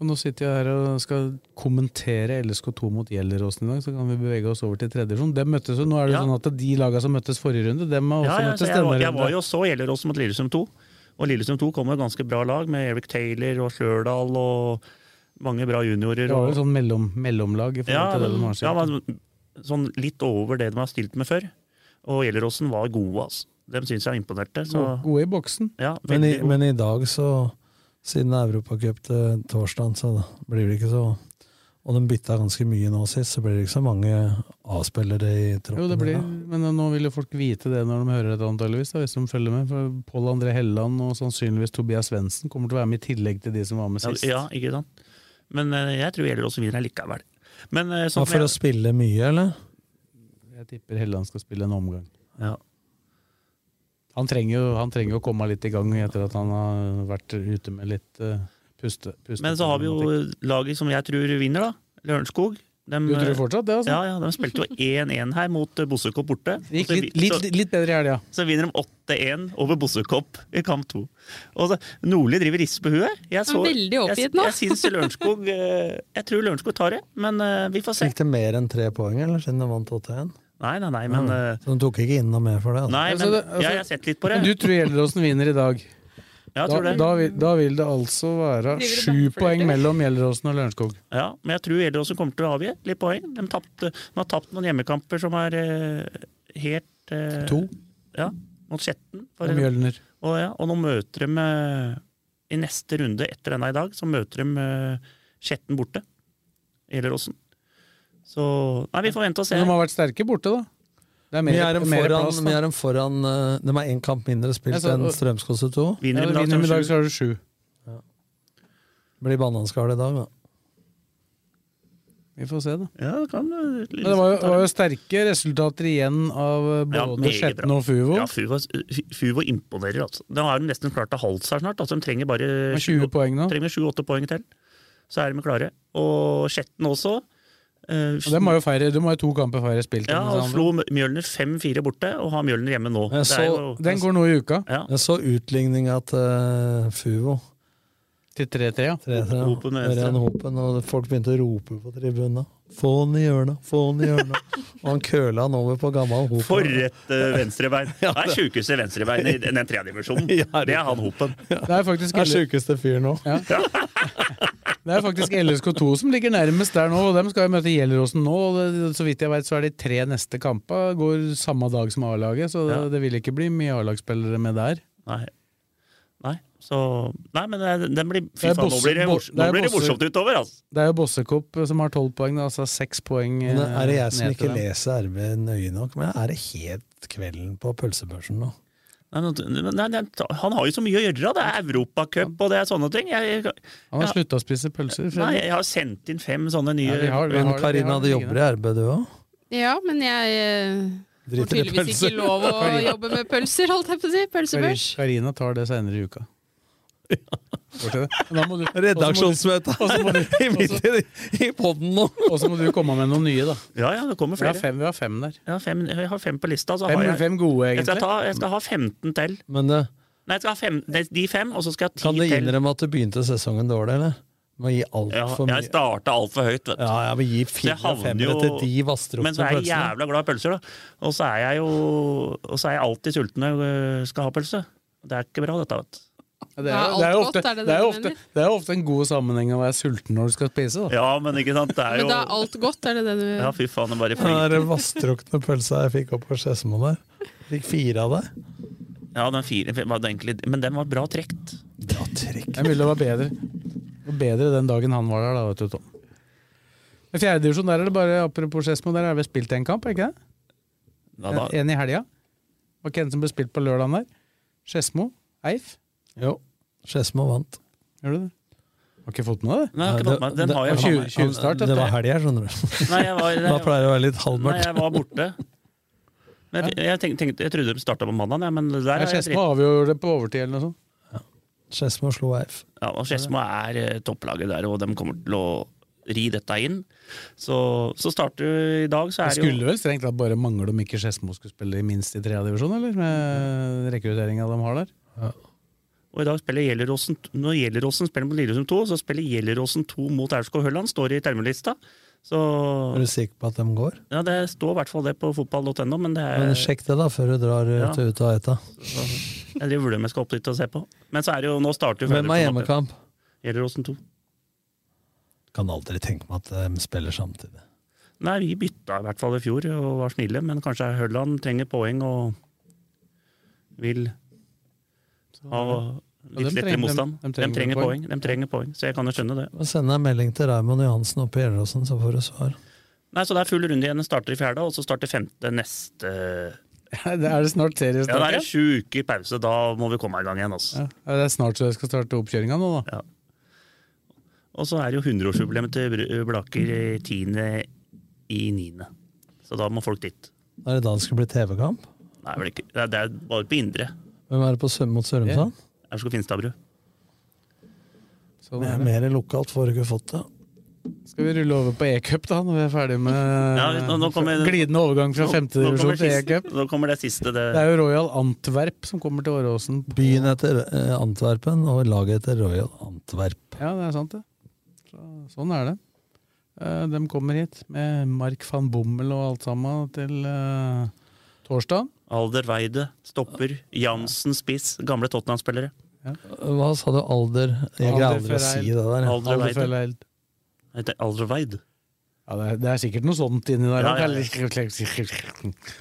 C: Og nå sitter jeg her og skal kommentere LSK2 mot Gjelleråsen i dag, så kan vi bevege oss over til tredje divisjon. Dem møttes jo, nå er det jo sånn at de laga som møttes forrige runde, dem
E: Ja,
C: har også
E: ja, så
C: møttes
E: jeg,
C: denne
E: var- jeg var jo
C: runde.
E: så Gjelleråsen mot Lillestrøm 2. Og Lillestrøm 2 kom med ganske bra lag, med Eric Taylor og Slørdal og mange bra juniorer.
C: Det var
E: og-
C: jo sånn mellom, mellomlag i forhold
E: Ja,
C: til det de
E: men,
C: har
E: ja,
C: sett.
E: men sånn litt over det de har stilt med før. Og Gjelleråsen var gode, altså. De syns jeg imponerte. Så.
C: Gode- Gode i boksen.
E: Ja,
A: Men i,
E: veldig gode.
A: men i dag, så siden det er Europacup til torsdag, så blir det ikke så Og de bytta ganske mye nå sist, så blir det ikke så mange A-spillere i troppen.
C: Jo, det blir,
A: da.
C: men nå vil jo folk vite det når de hører dette, antageligvis, da, hvis de følger med. For Pål André Helleland og sannsynligvis Tobias Svendsen kommer til å være med i tillegg til de som var med
E: Ja,
C: sist.
E: ja, ikke sant? Men eh, jeg tror Gjelleråsen vinner likevel. Men eh,
A: Ja,
E: sånn
A: for å
E: som jeg,
A: spille mye, eller?
C: Jeg tipper Helleland skal spille en omgang.
E: Ja.
C: Han trenger jo han trenger jo å komme litt i gang etter at han har vært ute med litt eh, puste, puste.
E: men så har vi jo laget som jeg tror vinner, da. Lørenskog. Dem,
C: Du tror fortsatt det, altså?
E: um, Ja, ja, De spilte jo 1-1 her mot eh, Bossekopp borte.
C: Det gikk
E: Så
C: litt,
E: vi- så-
C: litt, litt bedre i helga.
E: Så vinner de 8-1 over Bossekopp i kamp 2. Og så, Nordli driver og rister på huet. Jeg,
D: Han er veldig
E: jeg,
D: oppgitt nå.
E: jeg syns Lørenskog eh, Jeg tror Lørenskog tar det, men eh, vi får se.
A: Fikk de mer enn tre poeng, eller, siden de vant 8-1?
E: Nei, nei, nei, men, eh,
A: Så de tok ikke inn noe mer for det? altså.
E: nei,
C: Altså,
E: men
C: det- altså-
E: jeg har sett litt på det.
C: Men du tror Gjelleråsen vinner i dag?
E: Ja, jeg
C: da,
E: tror det.
C: Da, vil, da vil det altså være
E: Driver det
C: sju
E: backflip,
C: poeng
E: eller?
C: mellom Gjelleråsen og Lørenskog.
E: Ja, men jeg tror Gjelleråsen kommer til å avgi litt poeng. De, tapte, de har tapt noen hjemmekamper som er eh, helt eh,
C: To.
E: Ja, mot Skjetten. for
C: Og
E: eksempel.
C: Mjølner.
E: Og, ja, og nå møter de eh, I neste runde etter denne i dag, så møter de eh, Skjetten borte. Gjelleråsen. Så Nei, vi får vente og se.
C: Men de har vært sterke borte, da. Det er
A: Vi
C: mer,
A: er dem
C: mer
A: foran,
C: plass,
A: vi
C: da.
A: er dem foran eh, De er én kamp mindre
C: Jeg
A: spilt
C: sa-
A: enn Strømskose 2.
E: Vinner de
C: ja,
E: i dag,
C: vinner de i
E: så er
C: dag,
E: det
C: så er det sju.
A: Blir bananskall i dag, da.
C: Vi får se, da.
E: Ja, det kan eh, Men
C: Men det var jo, var jo sterke resultater igjen av eh, både Skjetten og Fuvo.
E: Ja, Fuvo, Fuvo imponerer, altså. De har de nesten klart å holde seg snart. Altså, de trenger bare
C: Med 20 poeng nå.
E: trenger 7-8 poeng til, så er de klare. Og Skjetten også. eh,
C: Og dem har jo færre, de har jo to kamper færre spilt.
E: ja,
C: enn disse
E: og
C: andre.
E: slo Mjølner 5-4 borte, og har Mjølner hjemme nå.
A: Jeg
E: Det er
A: så-
E: jo,
C: Den går nå i uka,
E: Ja.
A: Jeg så utligninga til eh, Fuvo.
C: til 3-3. ja.
A: 3-3, ja.
E: Hopen med
A: Ørjan Hopen, og folk begynte å rope på tribunen. Få han i hjørnet, få han i hjørnet. og han køla han over på gammel Hopen.
E: For et eh, venstrebein! Det er sjukeste venstrebein i den den tredje divisjonen. Det er han Hopen.
C: Det er faktisk,
A: Det er sjukeste fyr nå.
C: det er faktisk LSK2 som ligger nærmest der nå, og dem skal jo møte Gjelleråsen nå. og det, Så vidt jeg vet, så er de tre neste kamper går samme dag som A-laget, så det,
E: Ja.
C: det vil ikke bli mye A-lagsspillere med der.
E: Nei. Nei, så, nei men det- den blir, fy
C: Det er
E: faen, nå
C: Bosse-
E: blir det,
C: Bo-
E: mors,
C: det
E: nå
C: er
E: blir det
C: Bosse-
E: morsomt utover, altså!
C: Det er jo Bossekopp som har tolv poeng, da, altså seks poeng eh,
A: Men er det jeg som
C: ned
A: ikke
C: til dem.
A: leser RB nøye nok? Men er det helt kvelden på pølsebørsen nå?
E: Nei, men- men- nei, det er- han har jo så mye å gjøre. Det er Europacup og det er sånne ting. Jeg, jeg,
C: Han har
E: Ja.
C: slutta å spise pølser.
E: nei,
C: Fredrik.
E: jeg har sendt inn fem sånne nye
C: Ja, vi har- vi
A: Men
C: har- vi
A: Karina,
C: har
A: det
C: det
A: jobber i
C: liggende.
A: RB, du òg?
D: Ja, men jeg eh, får
C: Driter i
D: tydeligvis
C: pølser.
D: ikke lov å
C: Karina.
D: jobbe med pølser, holdt jeg på å si. Pølsebørs.
C: Karina tar det senere i uka.
A: Redaksjonsmøte i midt i, i podden nå!
C: Og så må du komme med noen nye, da.
E: Ja, ja, det kommer
C: Vi har
E: flere.
C: fem, vi har fem der.
E: Ja, fem, jeg har fem på lista. Så
C: Fem-
E: har jeg,
C: fem gode,
E: Jeg skal,
C: egentlig.
E: ta, jeg skal ha 15 til.
A: Men det,
E: Nei, jeg skal ha fem, nei, de fem, og så skal jeg ha
A: kan
E: ti
A: du
E: til.
A: innrømme at du begynte sesongen dårlig, eller? Må gi
E: Ja,
A: altfor mye.
E: jeg starta altfor høyt, vet du.
A: Ja, ja, men gi
E: Så jeg
A: fire og
E: havner
A: femmere til de
E: jo Men så
A: vassdrukne
E: er jeg
A: pølsene.
E: jævla glad i pølser, da. Og så er jeg jo og så er jeg alltid sulten når jeg øh, skal ha pølse. Det er ikke bra, dette, vet du.
C: Det
E: Ja,
C: er, jo-
E: alt
C: det er jo
E: godt,
C: ofte,
E: er det det
C: det er jo
E: du
C: ofte, det er jo ofte en god sammenheng å være sulten når du skal spise. Da.
E: Ja, men ikke sant. Det er
D: Men
E: jo
D: da er alt godt, er det det du
E: Ja, fy faen, det bare
A: Den
E: flyter.
A: der vassdrukne pølsa jeg fikk opp på Skedsmo der. Fikk fire av deg.
E: Ja, den fire var det egentlig Men den var bra trekt.
A: Bra trekk.
C: Det er mulig det var bedre. Det var bedre den dagen han var der, da, vet du, Tom. Men fjerdedivisjon, der er det bare apropos Skedsmo, der er det vel spilt en kamp, er det ikke det?
E: Ja, da.
C: En i helga. Var ikke en som ble spilt på lørdagen der? Skedsmo? Eif? Jo.
A: Skedsmo vant.
C: Gjør du det? Har ikke fått med deg det?
E: Nei, jeg har ikke fått med- den har jeg faen meg.
C: Tjuvstart,
A: Det var helg her, skjønner du.
E: Nei, jeg var-
A: da pleier det å være litt
E: Nei, jeg
A: halvmørkt.
E: var borte. Men jeg, jeg, tenkte, tenkte, jeg trodde de starta på mandag, men der er jeg
C: Skedsmo avgjorde det på overtid eller noe sånt.
A: Skedsmo slo Eif.
E: Ja, og Skedsmo er eh, topplaget der, og de kommer til å ri dette inn. Så, så starter du i dag, så
C: Det
E: er det jo
C: skulle vel strengt tatt bare mangle om ikke Skedsmo skulle spille i minst i tredje divisjon, eller? Med rekrutteringa de har der.
E: Og i dag spiller Gjelleråsen Når Gjelleråsen spiller mot Lillestrøm 2, så spiller Gjelleråsen 2 mot Aurskog Hølland, står i termelista. Så
A: Er du sikker på at de går?
E: ja, det står i hvert fall det på fotball.no, men det er
A: Men sjekk det, da, før du drar eh,
E: Ja.
A: til ut og eta.
E: Jeg driver vurdering om jeg skal opp dit og se på. Men så er det jo Nå starter jo
A: Hvem har
E: Fredriksen opp.
A: hjemmekamp?
E: Gjelleråsen 2.
A: Kan aldri tenke meg at eh, de spiller samtidig.
E: Nei, vi bytta i hvert fall i fjor og var snille, men kanskje Hølland trenger poeng og vil ha
C: Ja,
E: litt
C: de
E: lettere
C: trenger-
E: motstand.
C: de-
E: De,
C: de trenger
E: trenger
C: poeng.
E: poeng. de trenger poeng, så jeg kan jo skjønne det.
A: Og Send en melding til Raymond Johansen oppe i Gjelleråsen, så får du svar.
E: Nei, Så det er full runde igjen. Den starter i fjerde, og så starter femte neste
C: Er det- er det snart seriestart?
E: Ja, det er
C: igjen?
E: en sju uker i pause, da må vi komme i gang igjen. Altså.
C: Ja, det er snart så jeg skal starte oppkjøringa nå, da.
E: Og så er det jo 100-årsjubileum til Br- Blaker eh, tiende i niende. Så da må folk dit.
A: Er det da det skal bli TV-kamp?
E: Nei, vel ikke. Nei, Det er bare på indre.
A: Hvem er det på Sø- mot Sørumsand?
E: Aurskog Finstadbru.
C: Sånn
A: Det er
C: er det.
A: mer lokalt, får du ikke fått det.
C: Skal vi rulle over på e-cup da, når vi er ferdig med
E: nå- nå kommer-
C: glidende overgang fra
E: Nå-
C: femte
E: nå
C: divisjon
E: kommer
C: til
E: siste-
C: e-cup?
E: Nå kommer det siste. Det,
C: Det er jo Royal Antwerp som kommer til Åråsen.
A: Byen heter eh, Antwerpen, og laget heter Royal Antwerp.
C: Ja, det er sant, det. Så, sånn er det. Eh, De kommer hit med Mark van Bommel og alt sammen til eh, torsdag.
E: Alder Weide, stopper. Jansen, spiss. Gamle Tottenham-spillere.
A: Hva sa du, alder? Jeg greier aldri å si det der. jeg.
E: Alder
C: Alder
E: Weide.
C: Ferreid.
E: Heter Alder Weide.
C: Ja, det, er, det er sikkert noe sånt inni der.
E: Ja, ja, ja.
C: Det er noe sånt.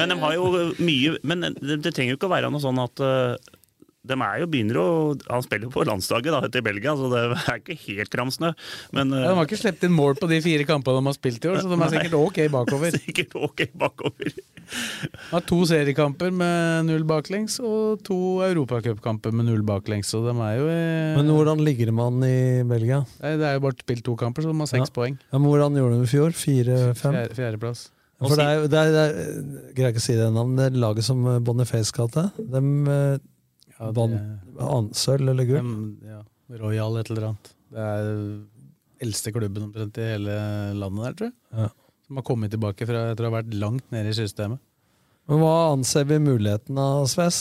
E: Men de har jo eh, mye Men det, det trenger jo ikke å være noe sånn at eh, de er jo begynner å Han spiller jo på landslaget da, til Belgia, så det er ikke helt kramsnø. Men eh,
C: Ja, De har ikke sluppet inn mål på de fire kampene de har spilt i år, så de er
E: Nei.
C: sikkert ok bakover.
E: sikkert ok bakover.
C: De har to seriekamper med null baklengs og to europacupkamper med null baklengs. Så de er jo eh,
A: Men hvordan ligger man i Belgia?
C: nei, Det er jo bare spilt to kamper, så de har seks
A: Ja.
C: poeng.
A: Ja, men hvordan gjorde de i fjor? Fire-fem?
C: Fjerde, fjerdeplass.
A: For det er jo det er, det er, jeg Greier ikke å si det navnet. Det er laget som eh, Boniface kalte det. De
C: Ja,
A: vant an- sølv eller gull.
C: Dem- ja, Royal et eller annet. Det er eldste klubben omtrent i hele landet der, tror jeg.
A: Ja.
C: Som har kommet tilbake fra etter å ha vært langt nede i systemet.
A: Men hva anser vi muligheten av, Sves?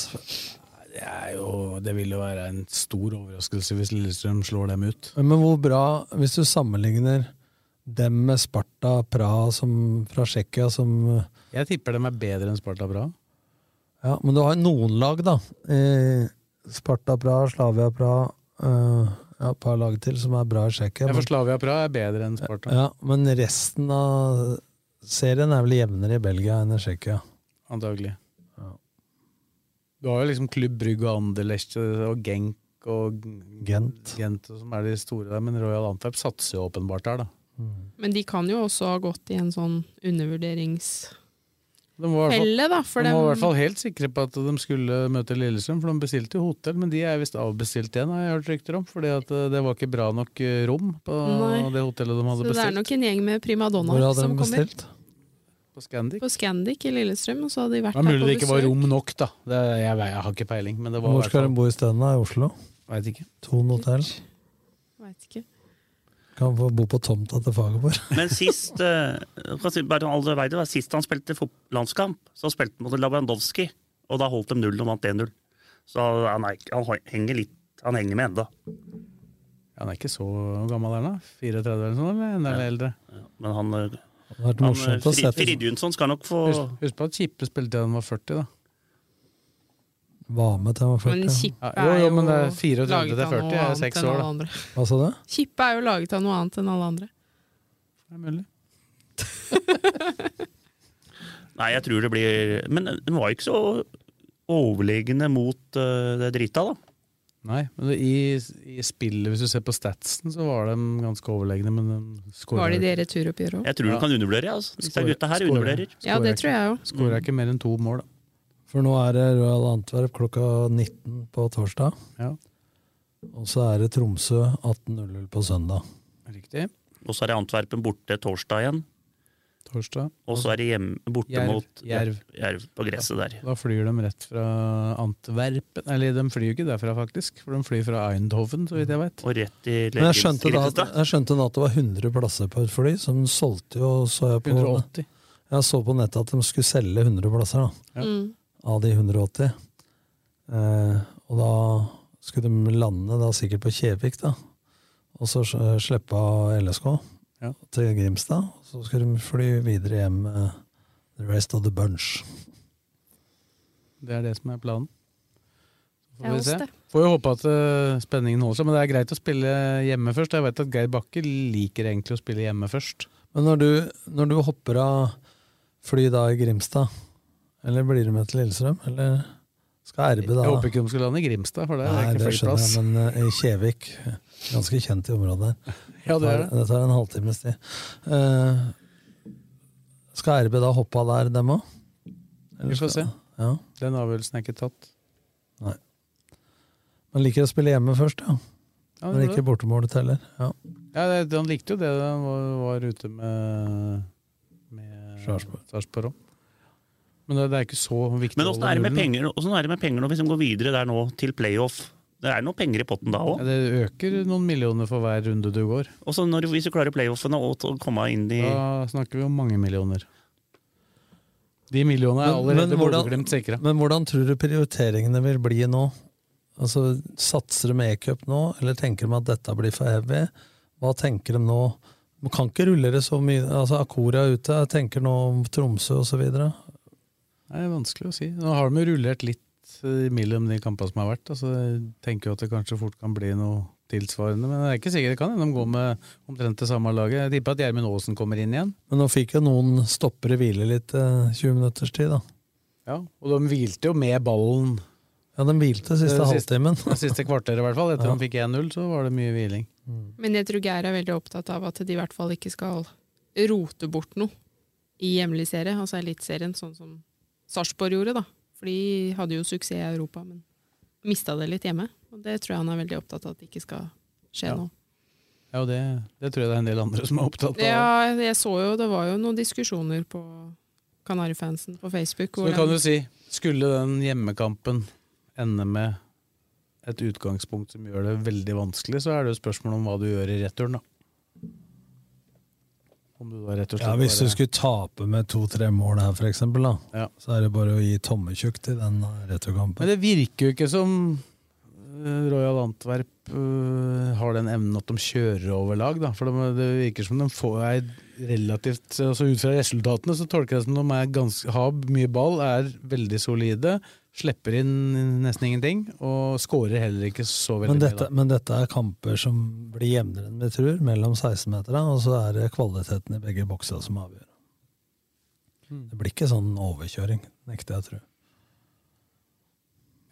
C: Det, er jo, det vil jo være en stor overraskelse hvis Lillestrøm slår dem ut.
A: Men hvor bra, hvis du sammenligner dem med Sparta Praha som, fra Tsjekkia som
C: Jeg tipper dem er bedre enn Sparta Praha.
A: Ja, men du har noen lag, da. Eh, Sparta Praha, Slavia Praha eh, Ja, et par lag til som er bra i Tsjekkia.
C: Jeg
A: men-
C: for Slavia Praha er bedre enn Sparta.
A: Ja, men resten av serien er vel jevnere i Belgia enn i Tsjekkia.
C: Antagelig. Du har jo liksom Klubb Brygg og Anderlecht og Genk og
A: Gent.
C: som er de store der, men Royal Antwerp satser jo åpenbart der, da.
D: Men de kan jo også ha gått i en sånn undervurderingsfelle,
C: De var i hvert fall-
D: da. For
C: de var i hvert fall
D: dem,
C: helt sikre på at de skulle møte Lillestrøm, for de bestilte jo hotell, men de er visst avbestilt igjen, har jeg hørt rykter om, fordi at eh, det var ikke bra nok eh, rom på
D: Nei.
C: det hotellet de
D: så
C: hadde
D: det er
C: bestilt.
D: nok en gjeng med
A: Hvor
D: primadonnaer
A: hadde
D: som
A: de
D: kommer.
A: bestilt?
C: På Scandic.
D: På Scandic i Lillestrøm, og så hadde de
C: Det
D: vært
C: er
D: der
C: mulig
D: på
C: det ikke var
D: besøk.
C: rom nok, da. Det, jeg, vet- jeg har ikke peiling. Men det var i
A: Hvor
C: hvert
A: skal
C: fall-
A: de bo isteden? I Oslo?
C: Veit ikke.
A: Thon hotell.
D: Vet ikke.
A: Kan få bo på tomta til Fagerborg.
E: Men sist eh, jeg kan si- bare alle vet det, sist han spilte fot- landskamp, så spilte han mot Lewandowski. Og da holdt de null og vant 1-0. Så han, er, ikke- han henger litt Han henger med ennå.
C: Han er ikke så gammel ennå? 34 eller sånn, eller enda eldre?
E: Men han, eh,
A: hadde vært morsomt å
E: Frid-
A: se.
E: Fridjonsson skal nok få
C: Husk, husk på at Kippe spilte til han var 40, da.
A: Var med til han var 40.
D: Men Kippe
C: jo,
D: er
C: jo,
D: jo
C: men det er 34
D: laget
C: til
D: av
C: 40
D: noe
C: er
D: annet
C: seks
D: enn
C: år,
D: alle
C: da.
D: andre.
A: Hva sa du?
D: Kippe er jo laget av noe annet enn alle andre.
C: Det er mulig.
E: Nei, jeg tror det blir Men den var ikke så overlegne mot eh, det drita, da.
C: Nei, men det, i, i spillet, hvis du ser på statsen, så var de ganske overlegne, men de skårer
D: Var det i
C: ikke.
D: det returoppgjøret òg?
E: Jeg tror du kan undervurdere, altså. Disse
C: Skårer-
E: gutta her
C: skårer-
E: undervurderer.
D: Ja, det tror jeg òg.
C: Skårer ikke mer enn to mål, da.
A: For nå er det Royal Antwerp klokka 19 på torsdag.
C: Ja.
A: Og så er det Tromsø 18.00 på søndag.
C: Riktig.
E: Og så er det Antwerpen borte torsdag igjen.
C: Torsdag.
E: Og så er det hjemme, borte
C: Jerv,
E: mot
C: Jerv.
E: Jerv på gresset der.
C: Da flyr de rett fra Antwerpen Eller de flyr jo ikke derfra, faktisk, for de flyr fra Eindhoven, så vidt jeg vet.
E: Og rett i
A: Men jeg skjønte, da, at- jeg skjønte da at det var 100 plasser på et fly, som solgte jo så jeg på,
C: 180.
A: Jeg så på nettet at de skulle selge 100 plasser da,
C: Ja. Mm.
A: av de 180. Eh, og da skulle de lande da sikkert på Kjevik, da. Og så s- slippe av LSK
C: Ja.
A: til Grimstad. Og så skulle de fly videre hjem eh, the rest of the bunch.
C: Det er det som er planen.
D: Det er
C: Så Får vi
D: oss,
C: se.
D: det.
C: Får jo håpe at eh, spenningen holder seg, men det er greit å spille hjemme først. Jeg vet at Geir Bakke liker egentlig å spille hjemme først.
A: Men når du, når du hopper av fly da i Grimstad, eller blir du med til Lillestrøm, eller skal RB da?
C: Jeg håper ikke de skulle lande i Grimstad, for der er
A: Nei,
C: ikke
A: det skjønner
C: flyplass.
A: jeg, men eh, i Kjevik, ganske kjent i området her.
C: Ja, det er det.
A: tar- Det tar en halvtimes tid. Eh, skal RB da hoppe av der, dem òg?
C: Vi får se.
A: Ja.
C: Den avgjørelsen er ikke tatt.
A: Nei. Man liker å spille hjemme først, ja.
C: Ja, det
A: Når
C: gjør
A: ikke
C: det.
A: bortemålet teller. Ja.
C: Ja, det, Han likte jo det da han var, var ute med, med
A: Sarpsborg.
C: Sarpsborg òg. Men det, det er ikke så viktig.
E: Men
C: å
E: åssen
C: holde
E: er det med
C: nullen, da.
E: penger, hvordan er det med penger når vi liksom går videre der nå til playoff? Det er noe penger i potten da òg.
C: Ja, det øker noen millioner for hver runde du går.
E: Og så når- hvis du klarer playoffene og t- komme inn i
C: Da snakker vi om mange millioner. De millionene er
A: Men-
C: allerede
A: men hvordan-
C: Bodø-Glimt sikra.
A: Men hvordan tror du prioriteringene vil bli nå? Altså, Satser de med e-cup nå, eller tenker de at dette blir for heavy? Hva tenker de nå? Man kan ikke rulle det så mye. altså Akora er ute, jeg tenker nå om Tromsø osv.
C: Nei, Det er vanskelig å si. Nå har de jo rullert litt eh, mellom de kampene som har vært. da, Så jeg tenker jo at det kanskje fort kan bli noe tilsvarende. Men det er ikke sikkert det kan hende de går med omtrent det samme laget. Jeg tipper at Gjermund Aasen kommer inn igjen.
A: Men nå fikk jo noen stoppere hvile litt eh, 20 minutters tid, da.
C: Ja, Og de hvilte jo med ballen.
A: Ja, de hvilte siste
C: Det
A: halvtimen.
C: det siste kvarteret, i hvert fall. Etter
A: Ja.
C: de fikk 1-0, så var det mye hviling.
D: Men jeg tror Geir er veldig opptatt av at de i hvert fall ikke skal rote bort noe i hjemlig serie, altså Eliteserien, sånn som Sarpsborg gjorde, da. For de hadde jo suksess i Europa, men mista det litt hjemme. Og det tror jeg han er veldig opptatt av at det ikke skal skje
C: Ja.
D: nå.
C: Ja, og det, det tror jeg det er en del andre som er opptatt av.
D: Ja, jeg så jo, det var jo noen diskusjoner på Kanarifansen på Facebook.
C: Så du kan jo si, skulle den hjemmekampen ende med et utgangspunkt som gjør det veldig vanskelig, så er det jo spørsmål om hva du gjør i returen, da. Om du da rett og slett
A: Ja, Hvis du
C: bare-
A: skulle tape med to-tre mål her, for eksempel, da, så er det bare å gi tommetjukk til den returkampen.
C: Men det virker jo ikke som eh, Royal Antwerp eh, har den evnen at de kjører over lag, da. For de, det virker som de får ei relativt altså Ut fra resultatene så tolker jeg det som de er ganske, har mye ball, er veldig solide, slipper inn nesten ingenting, og scorer heller ikke så veldig
A: Men
C: mye. da.
A: dette, men dette er kamper som blir jevnere enn vi tror, mellom 16-meterne, og så er det kvaliteten i begge bokser som avgjør.
C: Hmm.
A: Det blir ikke sånn overkjøring, nekter jeg å tro.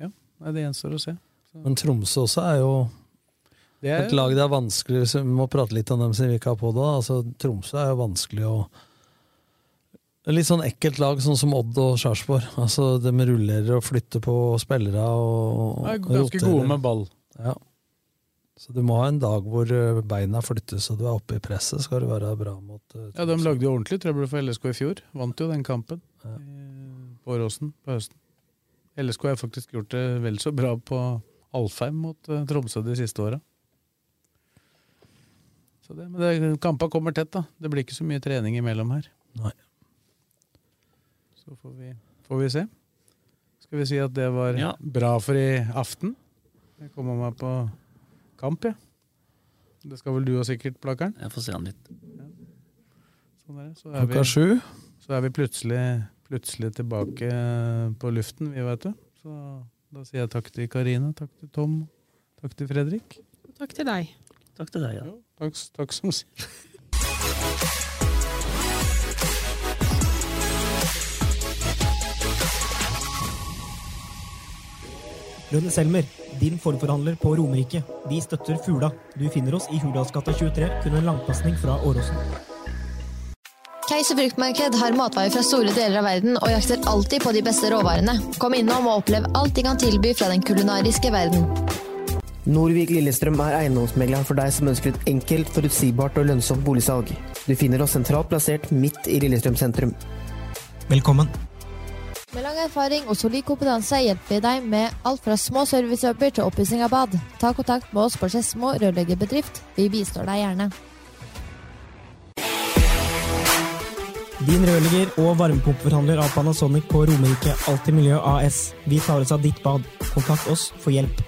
C: Ja, nei, det gjenstår å se.
A: Men Tromsø også er jo
C: Det er-
A: et lag det er vanskelig så Vi må prate litt om dem siden vi ikke har på det. da. Altså, Tromsø er jo vanskelig å Et Litt sånn ekkelt lag, sånn som Odd og Sarpsborg. Altså, de rullerer og flytter på spillere og, og
C: De er ganske
A: roterer.
C: gode med ball.
A: Ja. Så du må ha en dag hvor eh, beina flyttes og du er oppe i presset, skal du være bra mot eh,
C: Ja, De lagde jo ordentlig trøbbel for LSK i fjor. Vant jo den kampen eh, på Åråsen på høsten. LSK har faktisk gjort det vel så bra på Alfheim mot eh, Tromsø de siste åra. Men det- kampa kommer tett, da. Det blir ikke så mye trening imellom her.
A: Nei.
C: Så får vi, får vi se. Skal vi si at det var
E: Ja.
C: bra for i aften? Jeg kommer meg på kamp, jeg. Ja. Det skal vel du òg sikkert, Blakkeren?
E: Jeg får se han litt.
C: Sånn er det. Så
A: Klokka sju.
C: Så er vi plutselig, plutselig tilbake på luften, vi veit det. Så da sier jeg takk til Karine, takk til Tom, takk til Fredrik.
D: Takk til deg.
E: Takk til deg, ja.
C: Takk, takk som
F: Rønne Selmer, din forforhandler på Romerike. Vi støtter Fula. Du finner oss i Hurdalsgata 23, kun en langpasning fra Åråsen.
G: Keiser fruktmarked har matvarer fra store deler av verden og jakter alltid på de beste råvarene. Kom innom og opplev alt de kan tilby fra den kulinariske verden.
H: Norvik Lillestrøm er eiendomsmegleren for deg som ønsker et enkelt, forutsigbart og lønnsomt boligsalg. Du finner oss sentralt plassert midt i Lillestrøm sentrum.
F: Velkommen.
G: Med lang erfaring og solid kompetanse hjelper vi deg med alt fra små servicejobber til oppussing av bad. Ta kontakt med oss på Skedsmo rørleggerbedrift. Vi bistår deg gjerne.
F: Din rørlegger og varmepumpeforhandler av Panasonic på Romerike Alltid Miljø AS. Vi tar oss av ditt bad. Kontakt oss for hjelp.